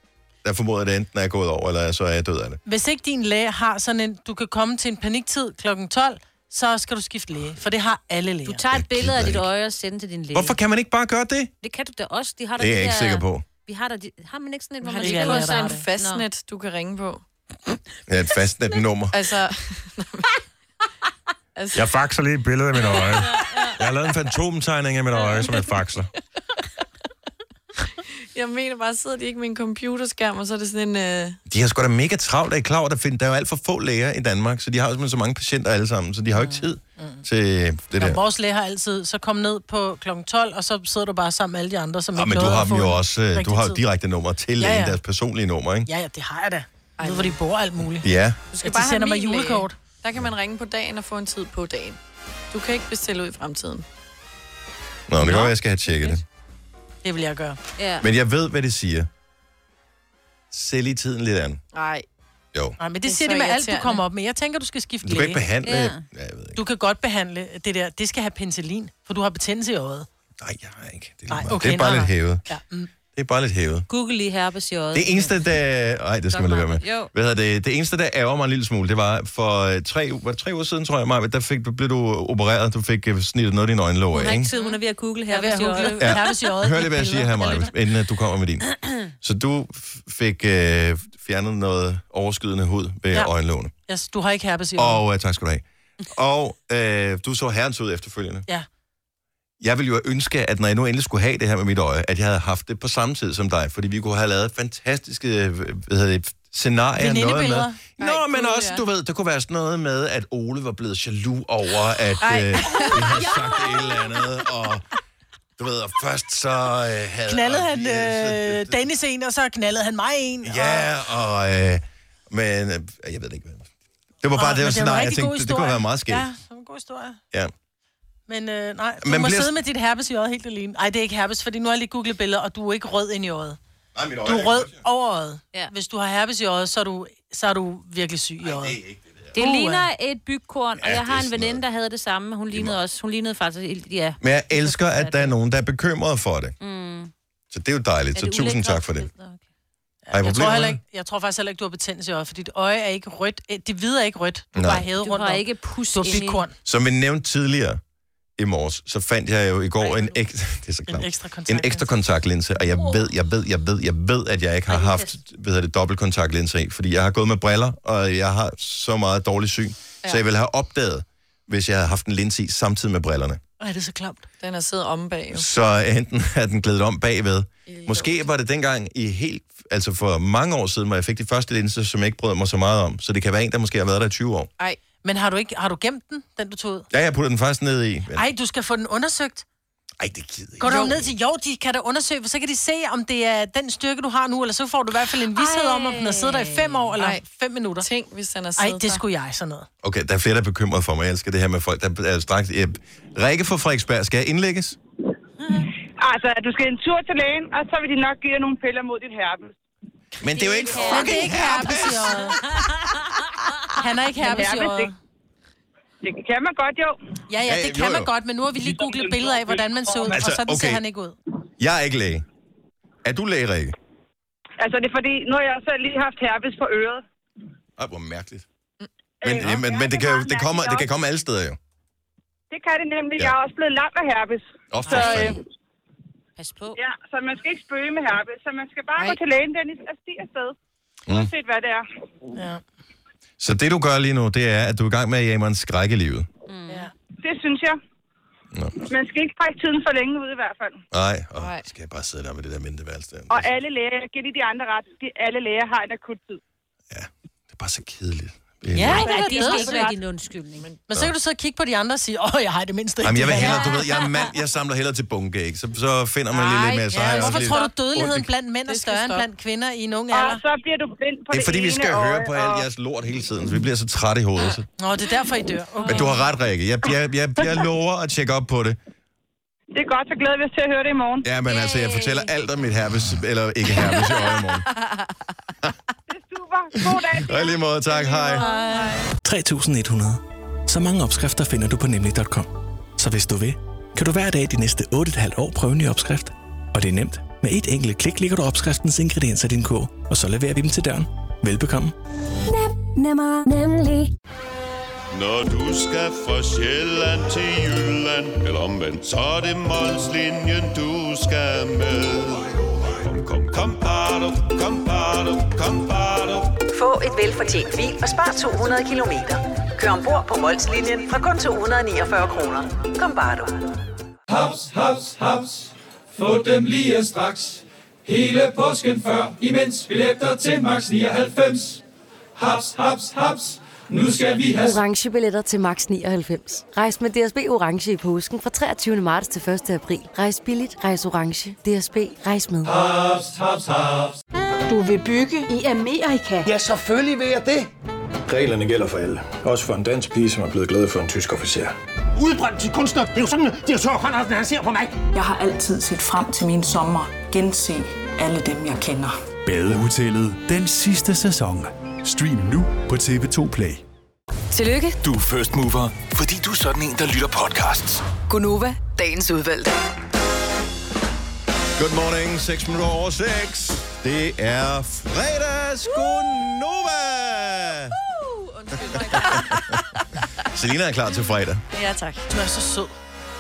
[SPEAKER 1] Der formoder jeg, at det enten er gået over, eller så er jeg død af det.
[SPEAKER 3] Hvis ikke din læge har sådan en, du kan komme til en paniktid klokken 12, så skal du skifte læge, for det har alle læger.
[SPEAKER 2] Du tager et billede af dit øje og sender til din læge.
[SPEAKER 1] Hvorfor kan man ikke bare gøre det?
[SPEAKER 2] Det kan du da også. De har da
[SPEAKER 1] Det er
[SPEAKER 2] de
[SPEAKER 1] jeg ikke
[SPEAKER 2] der-
[SPEAKER 1] sikker på.
[SPEAKER 2] Vi har da de... Har man ikke sådan et, hvor
[SPEAKER 4] Har
[SPEAKER 2] man
[SPEAKER 4] det
[SPEAKER 2] lige
[SPEAKER 4] ikke
[SPEAKER 2] kan
[SPEAKER 4] allerede
[SPEAKER 2] sig
[SPEAKER 4] en fastnet, du kan ringe på?
[SPEAKER 1] Det er et fastnet nummer.
[SPEAKER 4] Altså... altså
[SPEAKER 12] Jeg faxer lige et billede af mit øje. Jeg har lavet en fantomtegning af mit øje, som jeg faxer.
[SPEAKER 4] jeg mener bare, sidder de ikke med en computerskærm, og så er det sådan en... Øh...
[SPEAKER 1] De har sgu da mega travlt, er I klar over, der, find, der er jo alt for få læger i Danmark, så de har jo simpelthen så mange patienter alle sammen, så de har jo ikke
[SPEAKER 3] Mm.
[SPEAKER 1] tid til det
[SPEAKER 3] Når
[SPEAKER 1] der.
[SPEAKER 3] vores læge har altid, så kom ned på klokken 12, og så sidder du bare sammen med alle de andre, som
[SPEAKER 1] Ja,
[SPEAKER 3] ikke
[SPEAKER 1] Ah, men du
[SPEAKER 3] nåede
[SPEAKER 1] har
[SPEAKER 3] at
[SPEAKER 1] dem
[SPEAKER 3] få
[SPEAKER 1] jo
[SPEAKER 3] en
[SPEAKER 1] også, øh, du
[SPEAKER 3] rigtig
[SPEAKER 1] har jo
[SPEAKER 3] tid.
[SPEAKER 1] direkte nummer til
[SPEAKER 3] Ja,
[SPEAKER 1] ja,
[SPEAKER 3] ja.
[SPEAKER 1] ja. deres personlige nummer, ikke?
[SPEAKER 3] Ja, ja, det har jeg da. Jeg ved, hvor de bor og alt muligt.
[SPEAKER 1] Ja.
[SPEAKER 4] Du skal
[SPEAKER 3] At de
[SPEAKER 4] bare have
[SPEAKER 3] sender mig
[SPEAKER 4] min læge.
[SPEAKER 3] julekort.
[SPEAKER 4] Der kan man ringe på dagen og få en tid på dagen. Du kan ikke bestille ud i fremtiden.
[SPEAKER 1] Nå, det kan godt være, jeg skal have tjekket det.
[SPEAKER 3] Det vil jeg gøre.
[SPEAKER 4] Ja.
[SPEAKER 1] Men jeg ved, hvad det siger. Se lige tiden lidt an.
[SPEAKER 4] Nej.
[SPEAKER 1] Jo.
[SPEAKER 3] Nej, men det,
[SPEAKER 4] Det er
[SPEAKER 3] det siger
[SPEAKER 4] så
[SPEAKER 3] de med alt, du
[SPEAKER 4] irriterende.
[SPEAKER 3] kommer op med. Jeg tænker, du skal
[SPEAKER 1] Du
[SPEAKER 3] skifte
[SPEAKER 1] kan
[SPEAKER 3] læge.
[SPEAKER 1] ikke behandle- Ja. Ja, jeg
[SPEAKER 3] Du kan godt behandle det der. Det skal have penicillin, for du har betændelse i øjet.
[SPEAKER 1] Nej, jeg har ikke. Det
[SPEAKER 3] Nej,
[SPEAKER 1] meget.
[SPEAKER 3] okay,
[SPEAKER 1] Det er bare
[SPEAKER 3] nej,
[SPEAKER 1] lidt
[SPEAKER 3] nej.
[SPEAKER 1] hævet.
[SPEAKER 3] Ja. Mm.
[SPEAKER 1] Det er bare lidt hævet.
[SPEAKER 2] Google lige herpes i øjet.
[SPEAKER 1] Det eneste, der... Ej, det skal man lade være med.
[SPEAKER 2] Jo.
[SPEAKER 1] Hvad hedder det? Det eneste, der ærger mig en lille smule, det var for øh, tre, u- var det tre uger siden, tror jeg, Maja, der fik, blev du opereret, du fik øh, snittet noget af dine øjenlåg
[SPEAKER 2] Hun har
[SPEAKER 1] af,
[SPEAKER 2] ikke
[SPEAKER 1] ikke?
[SPEAKER 2] tid, hun er ved at google
[SPEAKER 3] Jeg er ved
[SPEAKER 2] herpes
[SPEAKER 3] at
[SPEAKER 2] i
[SPEAKER 3] google
[SPEAKER 2] øjet.
[SPEAKER 3] herpes i øjet.
[SPEAKER 1] Hør lige, hvad jeg siger her, Maja, inden at du kommer med din. Så du f- fik øh, fjernet noget overskydende hud ved
[SPEAKER 3] Ja.
[SPEAKER 1] ja. øjenlågene.
[SPEAKER 3] Jeg, du har ikke herpes i øjet.
[SPEAKER 1] Og øh, tak skal du have. Og øh, du så herrens ud efterfølgende.
[SPEAKER 3] Ja.
[SPEAKER 1] Jeg ville jo ønske, at når jeg nu endelig skulle have det her med mit øje, at jeg havde haft det på samme tid som dig, fordi vi kunne have lavet fantastiske øh, hvad hedder det, scenarier. Noget med.
[SPEAKER 3] Venindebilleder.
[SPEAKER 1] Nå, men også, du ved, der kunne være sådan noget med, at Ole var blevet jaloux over, at
[SPEAKER 3] Ej.
[SPEAKER 1] øh, vi havde sagt et eller andet, og du ved, og først så øh, havde...
[SPEAKER 3] Knaldede han øh, Dennis en, og så knaldede han mig en.
[SPEAKER 1] Ja, og... Øh, men øh, jeg ved det ikke. Det var bare det,
[SPEAKER 3] Åh, men
[SPEAKER 1] var
[SPEAKER 3] en
[SPEAKER 1] scenarie, jeg
[SPEAKER 3] rigtig god
[SPEAKER 1] tænkte, det, det kunne
[SPEAKER 3] historie.
[SPEAKER 1] være meget skægt.
[SPEAKER 3] Ja, det var en god historie.
[SPEAKER 1] Ja.
[SPEAKER 3] Men øh, nej, du
[SPEAKER 1] Men
[SPEAKER 3] må
[SPEAKER 1] bliver-
[SPEAKER 3] sidde med dit herpes i øjet helt alene. Nej, det er ikke herpes, fordi nu har jeg lige googlet billeder, og du er ikke rød ind i øjet.
[SPEAKER 1] Nej, mit øje
[SPEAKER 3] Du
[SPEAKER 1] er
[SPEAKER 3] er
[SPEAKER 1] ikke
[SPEAKER 3] rød over øjet. Ja. Hvis du har herpes i øjet, så er du, så er du virkelig syg i øjet.
[SPEAKER 2] Det ligner et bygkorn, og
[SPEAKER 1] Ja,
[SPEAKER 2] jeg
[SPEAKER 1] det er
[SPEAKER 2] har en veninde, der havde det samme. Hun lignede også. Hun lignede faktisk... Ja.
[SPEAKER 1] Men jeg elsker, at der er nogen, der er bekymret for det.
[SPEAKER 2] Mm.
[SPEAKER 1] Så det er jo dejligt.
[SPEAKER 2] Er
[SPEAKER 1] Så
[SPEAKER 2] det
[SPEAKER 1] tusind
[SPEAKER 2] ulækkert?
[SPEAKER 1] tak for det.
[SPEAKER 3] Jeg,
[SPEAKER 1] problemer
[SPEAKER 3] tror
[SPEAKER 1] med
[SPEAKER 3] heller
[SPEAKER 1] det?
[SPEAKER 3] ikke, jeg tror faktisk heller ikke, du har betændelse i øjet, for dit øje er ikke rødt. Eh, Det hvide er ikke rødt. Du er
[SPEAKER 1] Nej.
[SPEAKER 3] bare hævet
[SPEAKER 2] Du
[SPEAKER 3] rundt
[SPEAKER 2] har
[SPEAKER 3] om.
[SPEAKER 2] ikke pus
[SPEAKER 3] Du har
[SPEAKER 2] inde i-
[SPEAKER 3] fitkorn.
[SPEAKER 1] Som vi nævnte tidligere i morges, så fandt jeg jo i går en, ek- det er så klamt.
[SPEAKER 3] En ekstra
[SPEAKER 1] en ekstra kontaktlinse, og jeg ved, jeg ved, jeg ved, jeg ved, at jeg ikke har haft hvad hedder det, dobbeltkontaktlinse i, fordi jeg har gået med briller, og jeg har så meget dårlig syn, så jeg ville have opdaget, hvis jeg havde haft en linse i samtidig med brillerne.
[SPEAKER 3] Ej, det er så klamt.
[SPEAKER 4] Den er siddet om bag, jo.
[SPEAKER 1] Så enten er den glædet om bagved. Måske var det dengang i helt, altså for mange år siden, hvor jeg fik de første linser, som jeg ikke brød mig så meget om. Så det kan være en, der måske har været der i 20 år.
[SPEAKER 3] Ej. Men har du, ikke, har du gemt den, den du tog ud?
[SPEAKER 1] Ja, jeg puttede den faktisk ned i. men-
[SPEAKER 3] Ej, du skal få den undersøgt.
[SPEAKER 1] Ej, det gider
[SPEAKER 3] Går du ned til, jo, de kan da undersøge, for så kan de se, om det er den styrke, du har nu, eller så får du i hvert fald en vished om, om den har siddet der i fem år, eller
[SPEAKER 4] Ej.
[SPEAKER 3] fem minutter.
[SPEAKER 4] Tænk, hvis den har
[SPEAKER 3] Ej,
[SPEAKER 4] siddet
[SPEAKER 3] det
[SPEAKER 4] der.
[SPEAKER 3] skulle jeg sådan noget.
[SPEAKER 1] Okay, der er flere, der er bekymret for mig. Jeg elsker det her med folk, der er straks... Øh, Rikke fra Frederiksberg, skal jeg indlægges?
[SPEAKER 13] Altså, du skal en tur til lægen, og så vil de nok give dig nogle piller mod dit herpes.
[SPEAKER 1] Men det er jo ikke
[SPEAKER 3] Men det er ikke herpes i øjet. Han er ikke
[SPEAKER 13] Men
[SPEAKER 3] herpes i
[SPEAKER 13] herpes,
[SPEAKER 3] øjet.
[SPEAKER 13] Det kan man godt, jo.
[SPEAKER 3] Ja, ja,
[SPEAKER 1] Ja,
[SPEAKER 3] det
[SPEAKER 1] jo,
[SPEAKER 3] kan man
[SPEAKER 1] jo.
[SPEAKER 3] godt, men nu har vi lige googlet billeder af, hvordan man så ud,
[SPEAKER 1] Altså,
[SPEAKER 3] og sådan ser
[SPEAKER 1] okay.
[SPEAKER 3] han ikke ud.
[SPEAKER 1] Jeg er ikke læge. Er du læge, Rikke?
[SPEAKER 13] Altså, det er fordi, nu har jeg også lige haft herpes på øret.
[SPEAKER 1] Ej, hvor mærkeligt. Men, øh, men, men det, kan, jo- det, kommer, det kan komme alle steder jo.
[SPEAKER 13] Det kan det nemlig. Ja. Jeg er også blevet lam af herpes.
[SPEAKER 1] Åh, for
[SPEAKER 13] så,
[SPEAKER 1] fanden.
[SPEAKER 2] Pas på.
[SPEAKER 13] Ja, så man skal ikke spøge med herpes. Så man skal bare Ej. gå til lægen, Dennis, og stige afsted.
[SPEAKER 1] Mm.
[SPEAKER 13] Uanset hvad det er.
[SPEAKER 3] Ja.
[SPEAKER 1] Så det, du gør lige nu, det er, at du er i gang med at jage mig en skræk i livet.
[SPEAKER 13] Mm. ja. Det synes jeg.
[SPEAKER 1] Nå.
[SPEAKER 13] Man skal ikke trække tiden for længe ud i hvert fald.
[SPEAKER 1] Nej, og skal jeg bare sidde der med det der mindre værelse der.
[SPEAKER 13] Og alle læger, jeg giver lige de andre ret, de, alle læger har en akut tid.
[SPEAKER 1] Det er bare så kedeligt.
[SPEAKER 3] Ja,
[SPEAKER 2] Nej,
[SPEAKER 3] det
[SPEAKER 2] nej,
[SPEAKER 3] er
[SPEAKER 2] det skal
[SPEAKER 3] dødsret.
[SPEAKER 2] ikke være din undskyldning.
[SPEAKER 3] Men så kan du sidde og kigge på de andre og sige, åh, jeg har det mindste ikke.
[SPEAKER 1] Jamen, jeg vil
[SPEAKER 3] det
[SPEAKER 1] hellere,
[SPEAKER 3] værste."
[SPEAKER 1] du ved, jeg er mand, jeg samler hellere til bunke, ikke? Så, så finder man lige lidt mere. Så har jeg
[SPEAKER 3] ja,
[SPEAKER 1] også
[SPEAKER 3] hvorfor
[SPEAKER 1] lidt
[SPEAKER 3] tror du,
[SPEAKER 1] ondt i-
[SPEAKER 3] dødeligheden blandt mænd er større end blandt kvinder i en ung alder?
[SPEAKER 13] Og så bliver du blind på
[SPEAKER 1] Det er fordi, vi skal høre på
[SPEAKER 13] alt.
[SPEAKER 1] alt jeres lort hele tiden, så vi bliver så trætte i hovedet. Så.
[SPEAKER 3] Nå, det er derfor, I dør. Okay.
[SPEAKER 1] Men du har ret, Rikke. Jeg, jeg, jeg, jeg lover at tjekke op på det.
[SPEAKER 13] Det er godt, så glæder vi os til at høre det i morgen.
[SPEAKER 1] Ja, men altså, jeg fortæller alt om mit herpes, eller ikke herpes i øje i morgen.
[SPEAKER 13] Super. God dag.
[SPEAKER 1] Og i lige måde, tak. Hej.
[SPEAKER 14] 3100. Så mange opskrifter finder du på nemlig.com. Så hvis du vil, kan du hver dag de næste 8,5 år prøve en ny opskrift. Og det er nemt. Med et enkelt klik ligger du opskriftens ingredienser i din kog, og så leverer vi dem til døren. Velbekomme.
[SPEAKER 15] Nem, nemmer, nemlig.
[SPEAKER 8] Når du skal fra Sjælland til Jylland Eller omvendt, så er det Molslinjen, du skal med Kom, kom, kom, bado, kom, bado, kom, bado.
[SPEAKER 9] Få et velfortjent bil og spar 200 kilometer. Kør ombord på Molslinjen fra kun 249 kroner. Kom bare du.
[SPEAKER 16] Haps, haps, haps. Få dem lige straks. Hele påsken før, imens billetter til max 99. Haps, haps, haps. Nu skal vi have
[SPEAKER 17] orange billetter til max 99. Rejs med DSB orange i påsken fra 23. marts til 1. april. Rejs billigt, rejs orange. DSB rejs med.
[SPEAKER 16] haps, haps, haps.
[SPEAKER 18] Du vil bygge i Amerika? Ja, selvfølgelig vil jeg det.
[SPEAKER 19] Reglerne gælder for alle. Også for en dansk pige, som er blevet glad for en tysk officer.
[SPEAKER 18] Udbrøndt til kunstner. Det er jo sådan, at de har Conradsen, han ser på mig. Jeg har altid set frem til min sommer. Gense alle dem, jeg kender.
[SPEAKER 20] Badehotellet den sidste sæson. Stream nu på TV2 Play.
[SPEAKER 5] Tillykke,
[SPEAKER 20] Du er first mover, fordi du er sådan en, der lytter podcasts.
[SPEAKER 5] Gunova, dagens udvalgte.
[SPEAKER 1] Good morning, 6 minutter over 6. Det er fredags. Godnova! Selina er klar til fredag.
[SPEAKER 4] Ja, tak.
[SPEAKER 3] Du er så sød.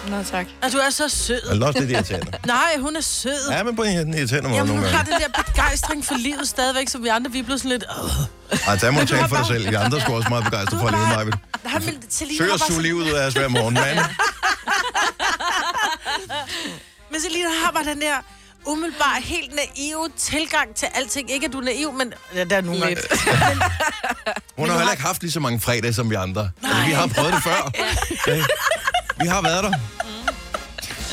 [SPEAKER 4] Nå, tak.
[SPEAKER 3] Og du er så sød.
[SPEAKER 1] Er det også lidt irriterende?
[SPEAKER 3] Nej, hun er sød.
[SPEAKER 1] Ja, men på en irriterende måde
[SPEAKER 3] Jamen, hun
[SPEAKER 1] nogle gange.
[SPEAKER 3] har den der begejstring for livet stadigvæk, så vi andre, vi er blevet sådan lidt... "Åh."
[SPEAKER 1] Ej, der må du tale for dig selv. Vi andre skulle også meget begejstrede for at leve, Maja.
[SPEAKER 3] Nej, men Selina
[SPEAKER 1] Søg
[SPEAKER 3] har
[SPEAKER 1] at
[SPEAKER 3] bare
[SPEAKER 1] suge
[SPEAKER 3] sådan-
[SPEAKER 1] livet ud af os hver morgen, mand.
[SPEAKER 3] Men Selina har bare den der umiddelbart helt naive tilgang til alting. Ikke at du er naiv, men... Ja, der er nogle gange.
[SPEAKER 1] Hun har heller ikke haft lige så mange fredage som vi andre. Altså, vi har prøvet det før. Ja. Vi har været der.
[SPEAKER 3] Det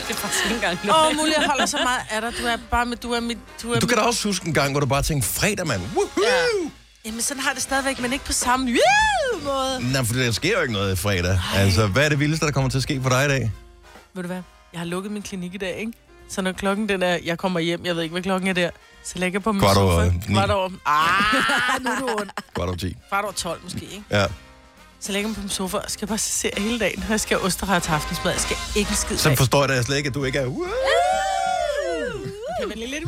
[SPEAKER 3] er faktisk ikke engang
[SPEAKER 2] løgn.
[SPEAKER 3] Åh, oh, Mulle, jeg holder så meget af dig. Du er bare med... Du er mit... Du er
[SPEAKER 1] Du kan
[SPEAKER 3] mit...
[SPEAKER 1] da også huske en gang, hvor du bare tænkte, fredag, mand. Woohoo! Ja.
[SPEAKER 3] Jamen, sådan har jeg det stadigvæk, men ikke på samme "Woo!" måde.
[SPEAKER 1] Nej, for der sker jo ikke noget fredag. Altså, hvad er det vildeste, der kommer til at ske for dig i dag?
[SPEAKER 3] Ved du hvad? Jeg har lukket min klinik i dag, ikke? Så når klokken den er... Jeg kommer hjem, jeg ved ikke, hvad klokken er der. Så lægger på min
[SPEAKER 1] Kvart over
[SPEAKER 3] sofa.
[SPEAKER 1] ni.
[SPEAKER 3] Kvart over... Ah, nu er du ondt.
[SPEAKER 1] Godt over 10.
[SPEAKER 3] Kvart over 12 måske, ikke?
[SPEAKER 1] Ja.
[SPEAKER 3] Så lægger jeg mig på min sofa og skal bare se hele dagen. Og jeg skal have osterret til aftensmad. Jeg skal ikke en skid
[SPEAKER 1] Så
[SPEAKER 3] af.
[SPEAKER 1] forstår jeg da slet ikke, at du ikke er...
[SPEAKER 3] Kan man lige lidt...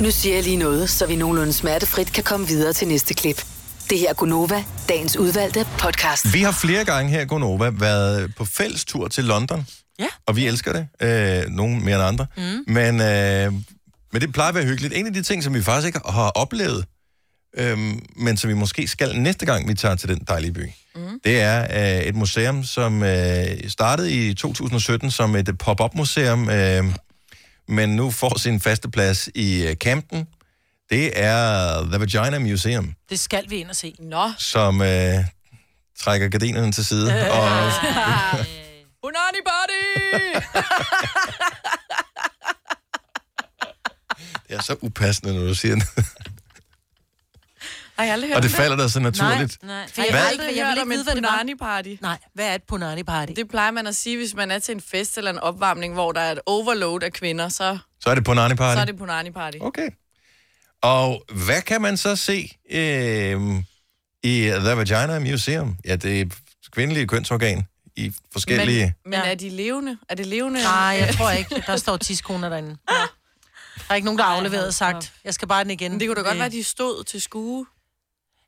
[SPEAKER 5] Nu siger jeg lige noget, så vi nogenlunde smertefrit kan komme videre til næste klip. Det her er Gunova, dagens udvalgte podcast.
[SPEAKER 1] Vi har flere gange her i Gonova været på fælles tur til London.
[SPEAKER 3] Ja.
[SPEAKER 1] Og vi elsker det. Øh, nogle mere end andre. Mm. Men, øh, men det plejer at være hyggeligt. En af de ting, som vi faktisk ikke har oplevet, øh, men som vi måske skal næste gang, vi tager til den dejlige by, mm. det er øh, et museum, som øh, startede i 2017 som et øh, pop-up museum, øh, men nu får sin faste plads i øh, Camden. Det er The Vagina Museum
[SPEAKER 3] Det skal vi ind og se. Nå.
[SPEAKER 1] som øh, trækker gardinerne til side. Og,
[SPEAKER 4] Unani body!
[SPEAKER 1] det er så upassende, når du siger det.
[SPEAKER 4] Har jeg aldrig hørt
[SPEAKER 1] Og det
[SPEAKER 4] om
[SPEAKER 1] falder dig så naturligt.
[SPEAKER 4] Nej, nej.
[SPEAKER 1] For jeg Hvad? har
[SPEAKER 4] Jeg,
[SPEAKER 1] ikke-
[SPEAKER 4] ikke,
[SPEAKER 3] jeg
[SPEAKER 4] jeg
[SPEAKER 3] vil ikke
[SPEAKER 4] vil ikke
[SPEAKER 3] vide,
[SPEAKER 4] vide,
[SPEAKER 3] hvad
[SPEAKER 4] hvad
[SPEAKER 3] det
[SPEAKER 4] et
[SPEAKER 3] var.
[SPEAKER 4] punani party.
[SPEAKER 3] Nej, hvad er et punani party?
[SPEAKER 4] Det plejer man at sige, hvis man er til en fest eller en opvarmning, hvor der er et overload af kvinder, så,
[SPEAKER 1] Så er det på en party.
[SPEAKER 4] så er det punani party.
[SPEAKER 1] Okay. Og hvad kan man så se øh, i The Vagina Museum? Ja, det er kvindelige kønsorgan i forskellige... Men...
[SPEAKER 4] Men er de levende? Er det levende?
[SPEAKER 3] Nej, jeg tror ikke. Der står 10 kroner derinde. Der er ikke nogen, der har afleveret og sagt, jeg skal bare den igen. Øh,
[SPEAKER 4] Det kunne da godt være, de stod til skue.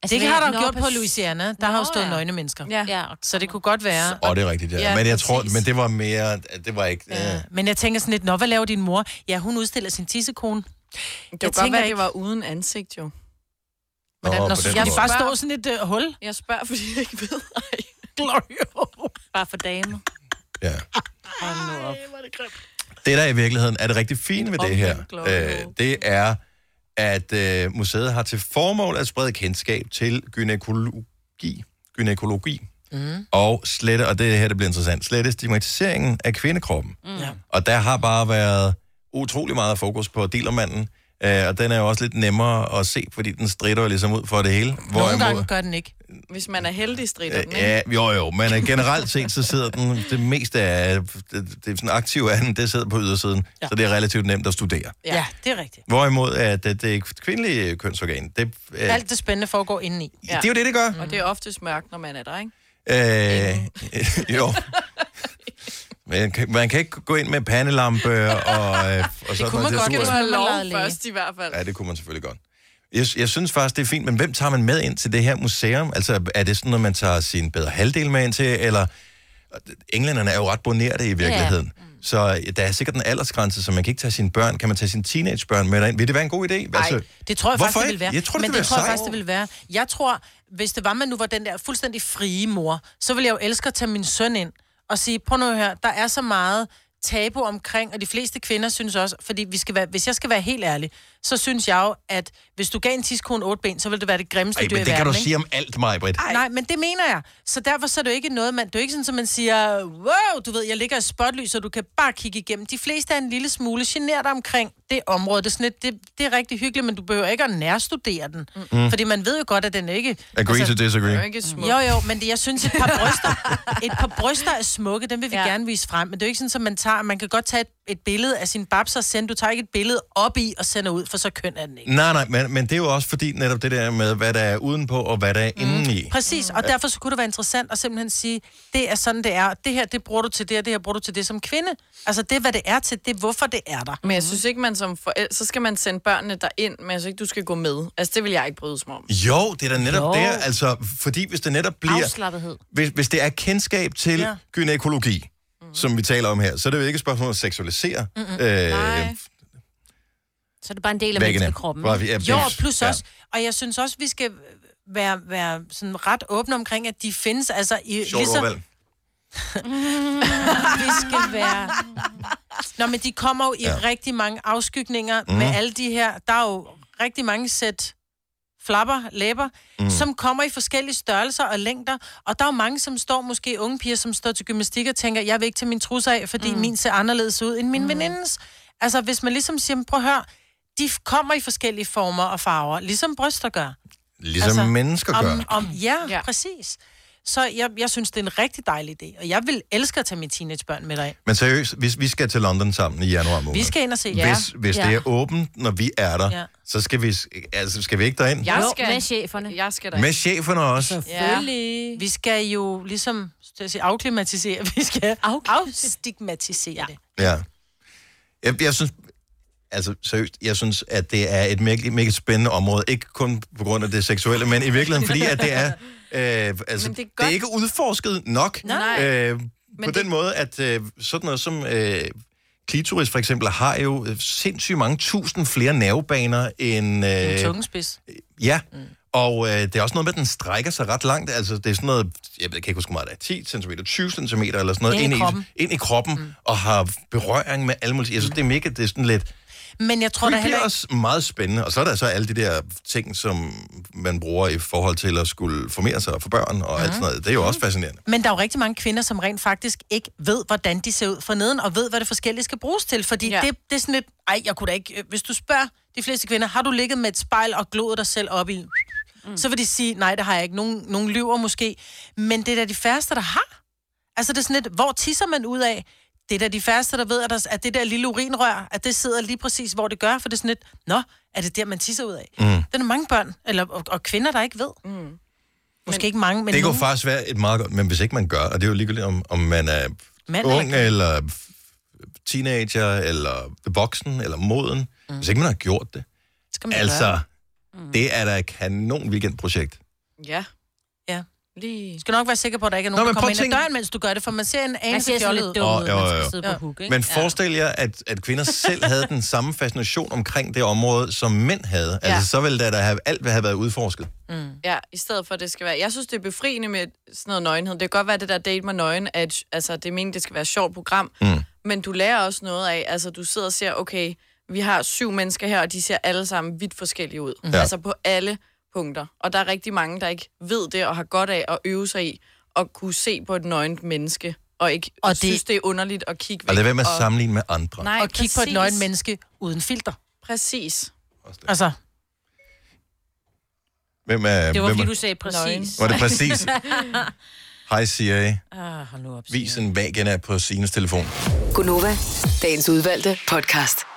[SPEAKER 3] Altså, det
[SPEAKER 4] hvad-
[SPEAKER 3] har der
[SPEAKER 4] Nå,
[SPEAKER 3] jo gjort på
[SPEAKER 4] pas-
[SPEAKER 3] Louisiana. Der har jo stået nøgne mennesker.
[SPEAKER 4] Ja.
[SPEAKER 3] Så det kunne godt være.
[SPEAKER 1] Åh, oh, det er rigtigt, ja.
[SPEAKER 3] Ja,
[SPEAKER 1] ja men jeg tror,
[SPEAKER 3] præcis.
[SPEAKER 1] men det var mere... Det var ikke... Ja. Øh.
[SPEAKER 3] Men jeg tænker sådan lidt, nå, hvad laver din mor? Ja, hun udstiller sin tissekone.
[SPEAKER 4] Det kunne godt være, det var uden ansigt, jo.
[SPEAKER 3] Hvordan,
[SPEAKER 1] Nå,
[SPEAKER 3] når
[SPEAKER 1] på
[SPEAKER 3] så
[SPEAKER 1] den
[SPEAKER 3] skal de
[SPEAKER 1] måde.
[SPEAKER 3] bare stå sådan et uh, hul?
[SPEAKER 4] Jeg spørger, fordi jeg ikke ved.
[SPEAKER 2] Bare for damer.
[SPEAKER 1] Ja.
[SPEAKER 2] Hold nu op.
[SPEAKER 1] Det, der i virkeligheden er det rigtig fine ved det her, øh, det er, at øh, museet har til formål at sprede kendskab til gynækologi, gynækologi
[SPEAKER 21] Mm.
[SPEAKER 1] og slette, og det er her, det bliver interessant, slette stigmatiseringen af kvindekroppen.
[SPEAKER 21] Mm. Ja.
[SPEAKER 1] Og der har bare været utrolig meget fokus på dealermanden, øh, og den er jo også lidt nemmere at se, fordi den strider jo ligesom ud for det hele.
[SPEAKER 3] Nogle gange gør den ikke.
[SPEAKER 4] Hvis man er heldig, strider den,
[SPEAKER 1] Øh,
[SPEAKER 4] ikke?
[SPEAKER 1] Ja, jo jo, men øh, generelt set, så sidder den, det meste af, øh, det, det er sådan aktive af den, det sidder på ydersiden, ja. så det er relativt nemt at studere.
[SPEAKER 3] Ja, ja det er rigtigt.
[SPEAKER 1] Hvorimod at øh, det, det kvindelige kønsorgan, det, øh,
[SPEAKER 3] Alt det spændende foregår indeni.
[SPEAKER 1] Ja. Det er jo det, det gør.
[SPEAKER 4] Og det er oftest mørkt, når man er der, ikke?
[SPEAKER 1] øh, jo. Man kan, man kan ikke gå ind med pandelampe og, øh, og sådan
[SPEAKER 4] Kunne
[SPEAKER 1] noget.
[SPEAKER 4] man
[SPEAKER 1] Det er
[SPEAKER 4] godt
[SPEAKER 1] super-
[SPEAKER 4] give mig lov først i hvert fald.
[SPEAKER 1] Ja, det kunne man selvfølgelig godt. Jeg, jeg synes faktisk, det er fint, men hvem tager man med ind til det her museum? Altså, er det sådan, at man tager sin bedre halvdel med ind til, eller... Englænderne er jo ret bonerte i virkeligheden.
[SPEAKER 3] Mm.
[SPEAKER 1] Ja. Så øh, der er sikkert en aldersgrænse, så man kan ikke tage sine børn. Kan man tage sine teenagebørn med derind? Vil det være en god idé? Nej,
[SPEAKER 3] Det tror jeg
[SPEAKER 1] Altså, Hvorfor
[SPEAKER 3] faktisk, det
[SPEAKER 1] ikke?
[SPEAKER 3] vil være.
[SPEAKER 1] Jeg tror, det,
[SPEAKER 3] Men
[SPEAKER 1] vil
[SPEAKER 3] det tror jeg
[SPEAKER 1] være
[SPEAKER 3] faktisk, det vil være. Jeg tror, hvis det var, man nu var den der fuldstændig frie mor, så ville jeg jo elske at tage min søn ind og sige, prøv nu her, der er så meget tabu omkring, og de fleste kvinder synes også, fordi vi skal være, hvis jeg skal være helt ærlig, så synes jeg jo, at hvis du gav en tidskone otte ben, så ville det være det grimmeste
[SPEAKER 1] Ej,
[SPEAKER 3] dyr i
[SPEAKER 1] men det
[SPEAKER 3] verden,
[SPEAKER 1] kan du
[SPEAKER 3] ikke?
[SPEAKER 1] sige om alt, mig, Britt.
[SPEAKER 3] Nej, men det mener jeg. Så derfor så er det jo ikke noget, man... Det er jo ikke sådan, at man siger, wow, du ved, jeg ligger i spotlys, og du kan bare kigge igennem. De fleste er en lille smule generet omkring det område. Det er, sådan lidt, det, det er rigtig hyggeligt, men du behøver ikke at nærstudere den. Mm.
[SPEAKER 1] Mm.
[SPEAKER 3] Fordi man ved jo godt, at den er ikke...
[SPEAKER 1] Agree to disagree. Den er jo
[SPEAKER 4] ikke smuk.
[SPEAKER 3] Altså, Jo, jo, men det, jeg synes, et par bryster, et par bryster er smukke, dem vil vi ja. gerne vise frem. Men det er jo ikke sådan, at man tager... Man kan godt tage et, et billede af sin babs og sende. Du tager ikke et billede op i og sender ud, for så køn er den ikke.
[SPEAKER 1] Nej, nej, men, men det er jo også fordi netop det der med, hvad der er udenpå og hvad der er mm. indeni.
[SPEAKER 3] Præcis, og derfor så kunne det være interessant at simpelthen sige, det er sådan, det er. og Det her, det bruger du til det, og det her bruger du til det som kvinde. Altså, det er, hvad det er til, det er, hvorfor det er der.
[SPEAKER 4] Men jeg synes ikke, man som forældre, så skal man sende børnene der ind, men jeg synes ikke, du skal gå med. Altså, det vil jeg ikke bryde mig om.
[SPEAKER 1] Jo, det er da netop
[SPEAKER 4] Jo.
[SPEAKER 1] jo. der, altså, fordi hvis det netop bliver...
[SPEAKER 4] Afslappethed.
[SPEAKER 1] Hvis, hvis det er kendskab til
[SPEAKER 4] Ja.
[SPEAKER 1] ja. gynækologi,
[SPEAKER 3] Mhm.
[SPEAKER 1] mm. som vi taler om her, så er det jo ikke et spørgsmål om at seksualisere.
[SPEAKER 2] Mm-mm.
[SPEAKER 1] Øh,
[SPEAKER 2] Så er det bare en del af
[SPEAKER 1] Væggene.
[SPEAKER 2] menneskekroppen.
[SPEAKER 1] Bare vi- ja,
[SPEAKER 3] Jo,
[SPEAKER 1] det-
[SPEAKER 3] og plus
[SPEAKER 1] ja.
[SPEAKER 3] også, og jeg synes også, vi skal være, være sådan ret åbne omkring, at de findes, altså i,
[SPEAKER 1] sjovt ordvalg.
[SPEAKER 3] vi skal være... Nå, men de kommer jo i ja. rigtig mange afskygninger mm.
[SPEAKER 1] Mhm.
[SPEAKER 3] med alle de her... Der er jo rigtig mange sæt flapper, læber, mm.
[SPEAKER 1] Mm.
[SPEAKER 3] som kommer i forskellige størrelser og længder. Og der er jo mange, som står, måske unge piger, som står til gymnastik og tænker, jeg vil ikke tage min trusser af, fordi mm. min ser anderledes ud end min mm. venindes. Altså, hvis man ligesom siger, "Men prøv at høre, de f- kommer i forskellige former og farver, ligesom bryster gør.
[SPEAKER 1] Ligesom mennesker gør.
[SPEAKER 3] Om, om, ja, ja, præcis. Så jeg, jeg synes, det er en rigtig dejlig idé. Og jeg vil elske at tage mine teenagebørn med dig.
[SPEAKER 1] Men seriøst, hvis vi skal til London sammen i januar måned.
[SPEAKER 3] Vi skal ind og se
[SPEAKER 1] Hvis, hvis
[SPEAKER 3] ja.
[SPEAKER 1] det er åbent, når vi er der,
[SPEAKER 3] Ja.
[SPEAKER 1] ja. så skal vi, altså, skal vi ikke derind?
[SPEAKER 3] Jeg skal. med cheferne. Jeg skal
[SPEAKER 1] Med cheferne også.
[SPEAKER 3] Selvfølgelig. Ja. Vi skal jo ligesom skal jeg sige, afklimatisere. Vi skal afstigmatisere ja. det.
[SPEAKER 1] Ja. Jeg, jeg synes, altså seriøst, jeg synes, at det er et mega, mega spændende område. Ikke kun på grund af det seksuelle, men i virkeligheden, fordi at det er, øh, altså, det
[SPEAKER 4] Men
[SPEAKER 1] er,
[SPEAKER 4] det er
[SPEAKER 1] det er
[SPEAKER 4] godt.
[SPEAKER 1] ikke udforsket nok.
[SPEAKER 4] Nej.
[SPEAKER 1] Øh, på
[SPEAKER 4] Men
[SPEAKER 1] den måde, at øh, sådan noget som øh, klitoris for eksempel, har jo øh, sindssygt mange tusind flere nervebaner end... Øh,
[SPEAKER 3] En tungespids.
[SPEAKER 1] Ja, mm. og øh, det er også noget med, at den strækker sig ret langt. Altså, det er sådan noget, jeg ved, kan ikke huske hvor meget, det er 10 cm, 20 cm eller sådan noget,
[SPEAKER 3] Ind i kroppen.
[SPEAKER 1] ind i kroppen mm. og har berøring med alle mulige. Jeg synes, det er mega, det er sådan lidt...
[SPEAKER 3] Men jeg tror da
[SPEAKER 1] det
[SPEAKER 3] heller
[SPEAKER 1] bliver
[SPEAKER 3] ikke...
[SPEAKER 1] også meget spændende. Og så er der så alle de der ting, som man bruger i forhold til at skulle formere sig og få børn og mm. alt sådan noget.
[SPEAKER 3] Mhm.
[SPEAKER 1] Det er jo også fascinerende.
[SPEAKER 3] Men der er jo rigtig mange kvinder, som rent faktisk ikke ved, hvordan de ser ud for neden, og ved, hvad det forskellige skal bruges til. Fordi ja. det, det er sådan lidt, ej, jeg kunne da ikke... øh, Hvis du spørger de fleste kvinder, har du ligget med et spejl og gloet dig selv op i... Mm. Så vil de sige, nej, det har jeg ikke. Nogen, nogen lyver måske. Men det er da de færreste, der har. Altså det er sådan lidt, hvor tisser man ud af? Det er da de færreste, der ved, at, der, at det der lille urinrør, at det sidder lige præcis, hvor det gør. For det er sådan lidt, nå, er det der, man tisser ud af?
[SPEAKER 1] Mm.
[SPEAKER 3] Der er mange børn, eller, og, og kvinder, der ikke ved. Mm. Måske ikke mange, men
[SPEAKER 1] det kunne
[SPEAKER 3] nogen.
[SPEAKER 1] faktisk være et meget godt, men hvis ikke man gør, og det er jo ligegyldigt, om, om man er Mand
[SPEAKER 3] Mand eller
[SPEAKER 1] ung eller,
[SPEAKER 3] kvinde.
[SPEAKER 1] teenager eller voksen eller moden, mm. hvis ikke man har gjort det.
[SPEAKER 3] Skal man
[SPEAKER 1] altså,
[SPEAKER 3] gøre.
[SPEAKER 1] mm. det er da et kanon weekendprojekt.
[SPEAKER 4] Ja.
[SPEAKER 3] Ja.
[SPEAKER 4] Lige.
[SPEAKER 3] Du skal nok være sikker på, at der ikke er
[SPEAKER 1] Nå,
[SPEAKER 3] nogen, Nå,
[SPEAKER 1] men
[SPEAKER 3] der
[SPEAKER 1] prøv
[SPEAKER 3] kommer
[SPEAKER 1] at
[SPEAKER 3] ind
[SPEAKER 1] tænke-
[SPEAKER 3] ad døren, mens du gør det, for man ser en anelse
[SPEAKER 2] ser sådan
[SPEAKER 3] fjollet
[SPEAKER 2] lidt
[SPEAKER 3] ud.
[SPEAKER 2] dum ud,
[SPEAKER 1] Jo, jo,
[SPEAKER 2] man skal
[SPEAKER 1] jo.
[SPEAKER 2] sidde på hook, ikke?
[SPEAKER 1] Men forestil jer, at, at kvinder selv havde den samme fascination omkring det område, som mænd havde. Altså,
[SPEAKER 4] Ja.
[SPEAKER 1] så ville da, der have, alt have været udforsket.
[SPEAKER 4] Mm. Ja, i stedet for, at det skal være... Jeg synes, det er befriende med sådan noget nøgenhed. Det kan godt være, at det der date med nøgen, at altså, det er meningen, det skal være et sjovt program. Mm. Men du lærer også noget af, altså du sidder og ser, okay, vi har syv mennesker her, og de ser alle sammen vidt forskellige ud.
[SPEAKER 1] Mhm.
[SPEAKER 4] Mm.
[SPEAKER 1] Ja.
[SPEAKER 4] Altså på alle punkter. Og der er rigtig mange, der ikke ved det, og har godt af at øve sig i at kunne se på et nøgent menneske, og ikke og det... synes, det er underligt at kigge væk.
[SPEAKER 1] Og lad være med at sammenligne med andre.
[SPEAKER 4] Nej,
[SPEAKER 3] og kigge på et
[SPEAKER 4] præcis.
[SPEAKER 3] nøgen menneske uden filter.
[SPEAKER 4] Præcis.
[SPEAKER 3] Altså,
[SPEAKER 1] Hvem er,
[SPEAKER 2] Det var
[SPEAKER 1] hvem
[SPEAKER 2] fordi,
[SPEAKER 1] er,
[SPEAKER 2] du sagde præcis.
[SPEAKER 1] Var det præcis? Hej Siri,
[SPEAKER 2] ah, hold nu op.
[SPEAKER 1] vis en vagina på Sines telefon.
[SPEAKER 5] Gunova, dagens udvalgte podcast.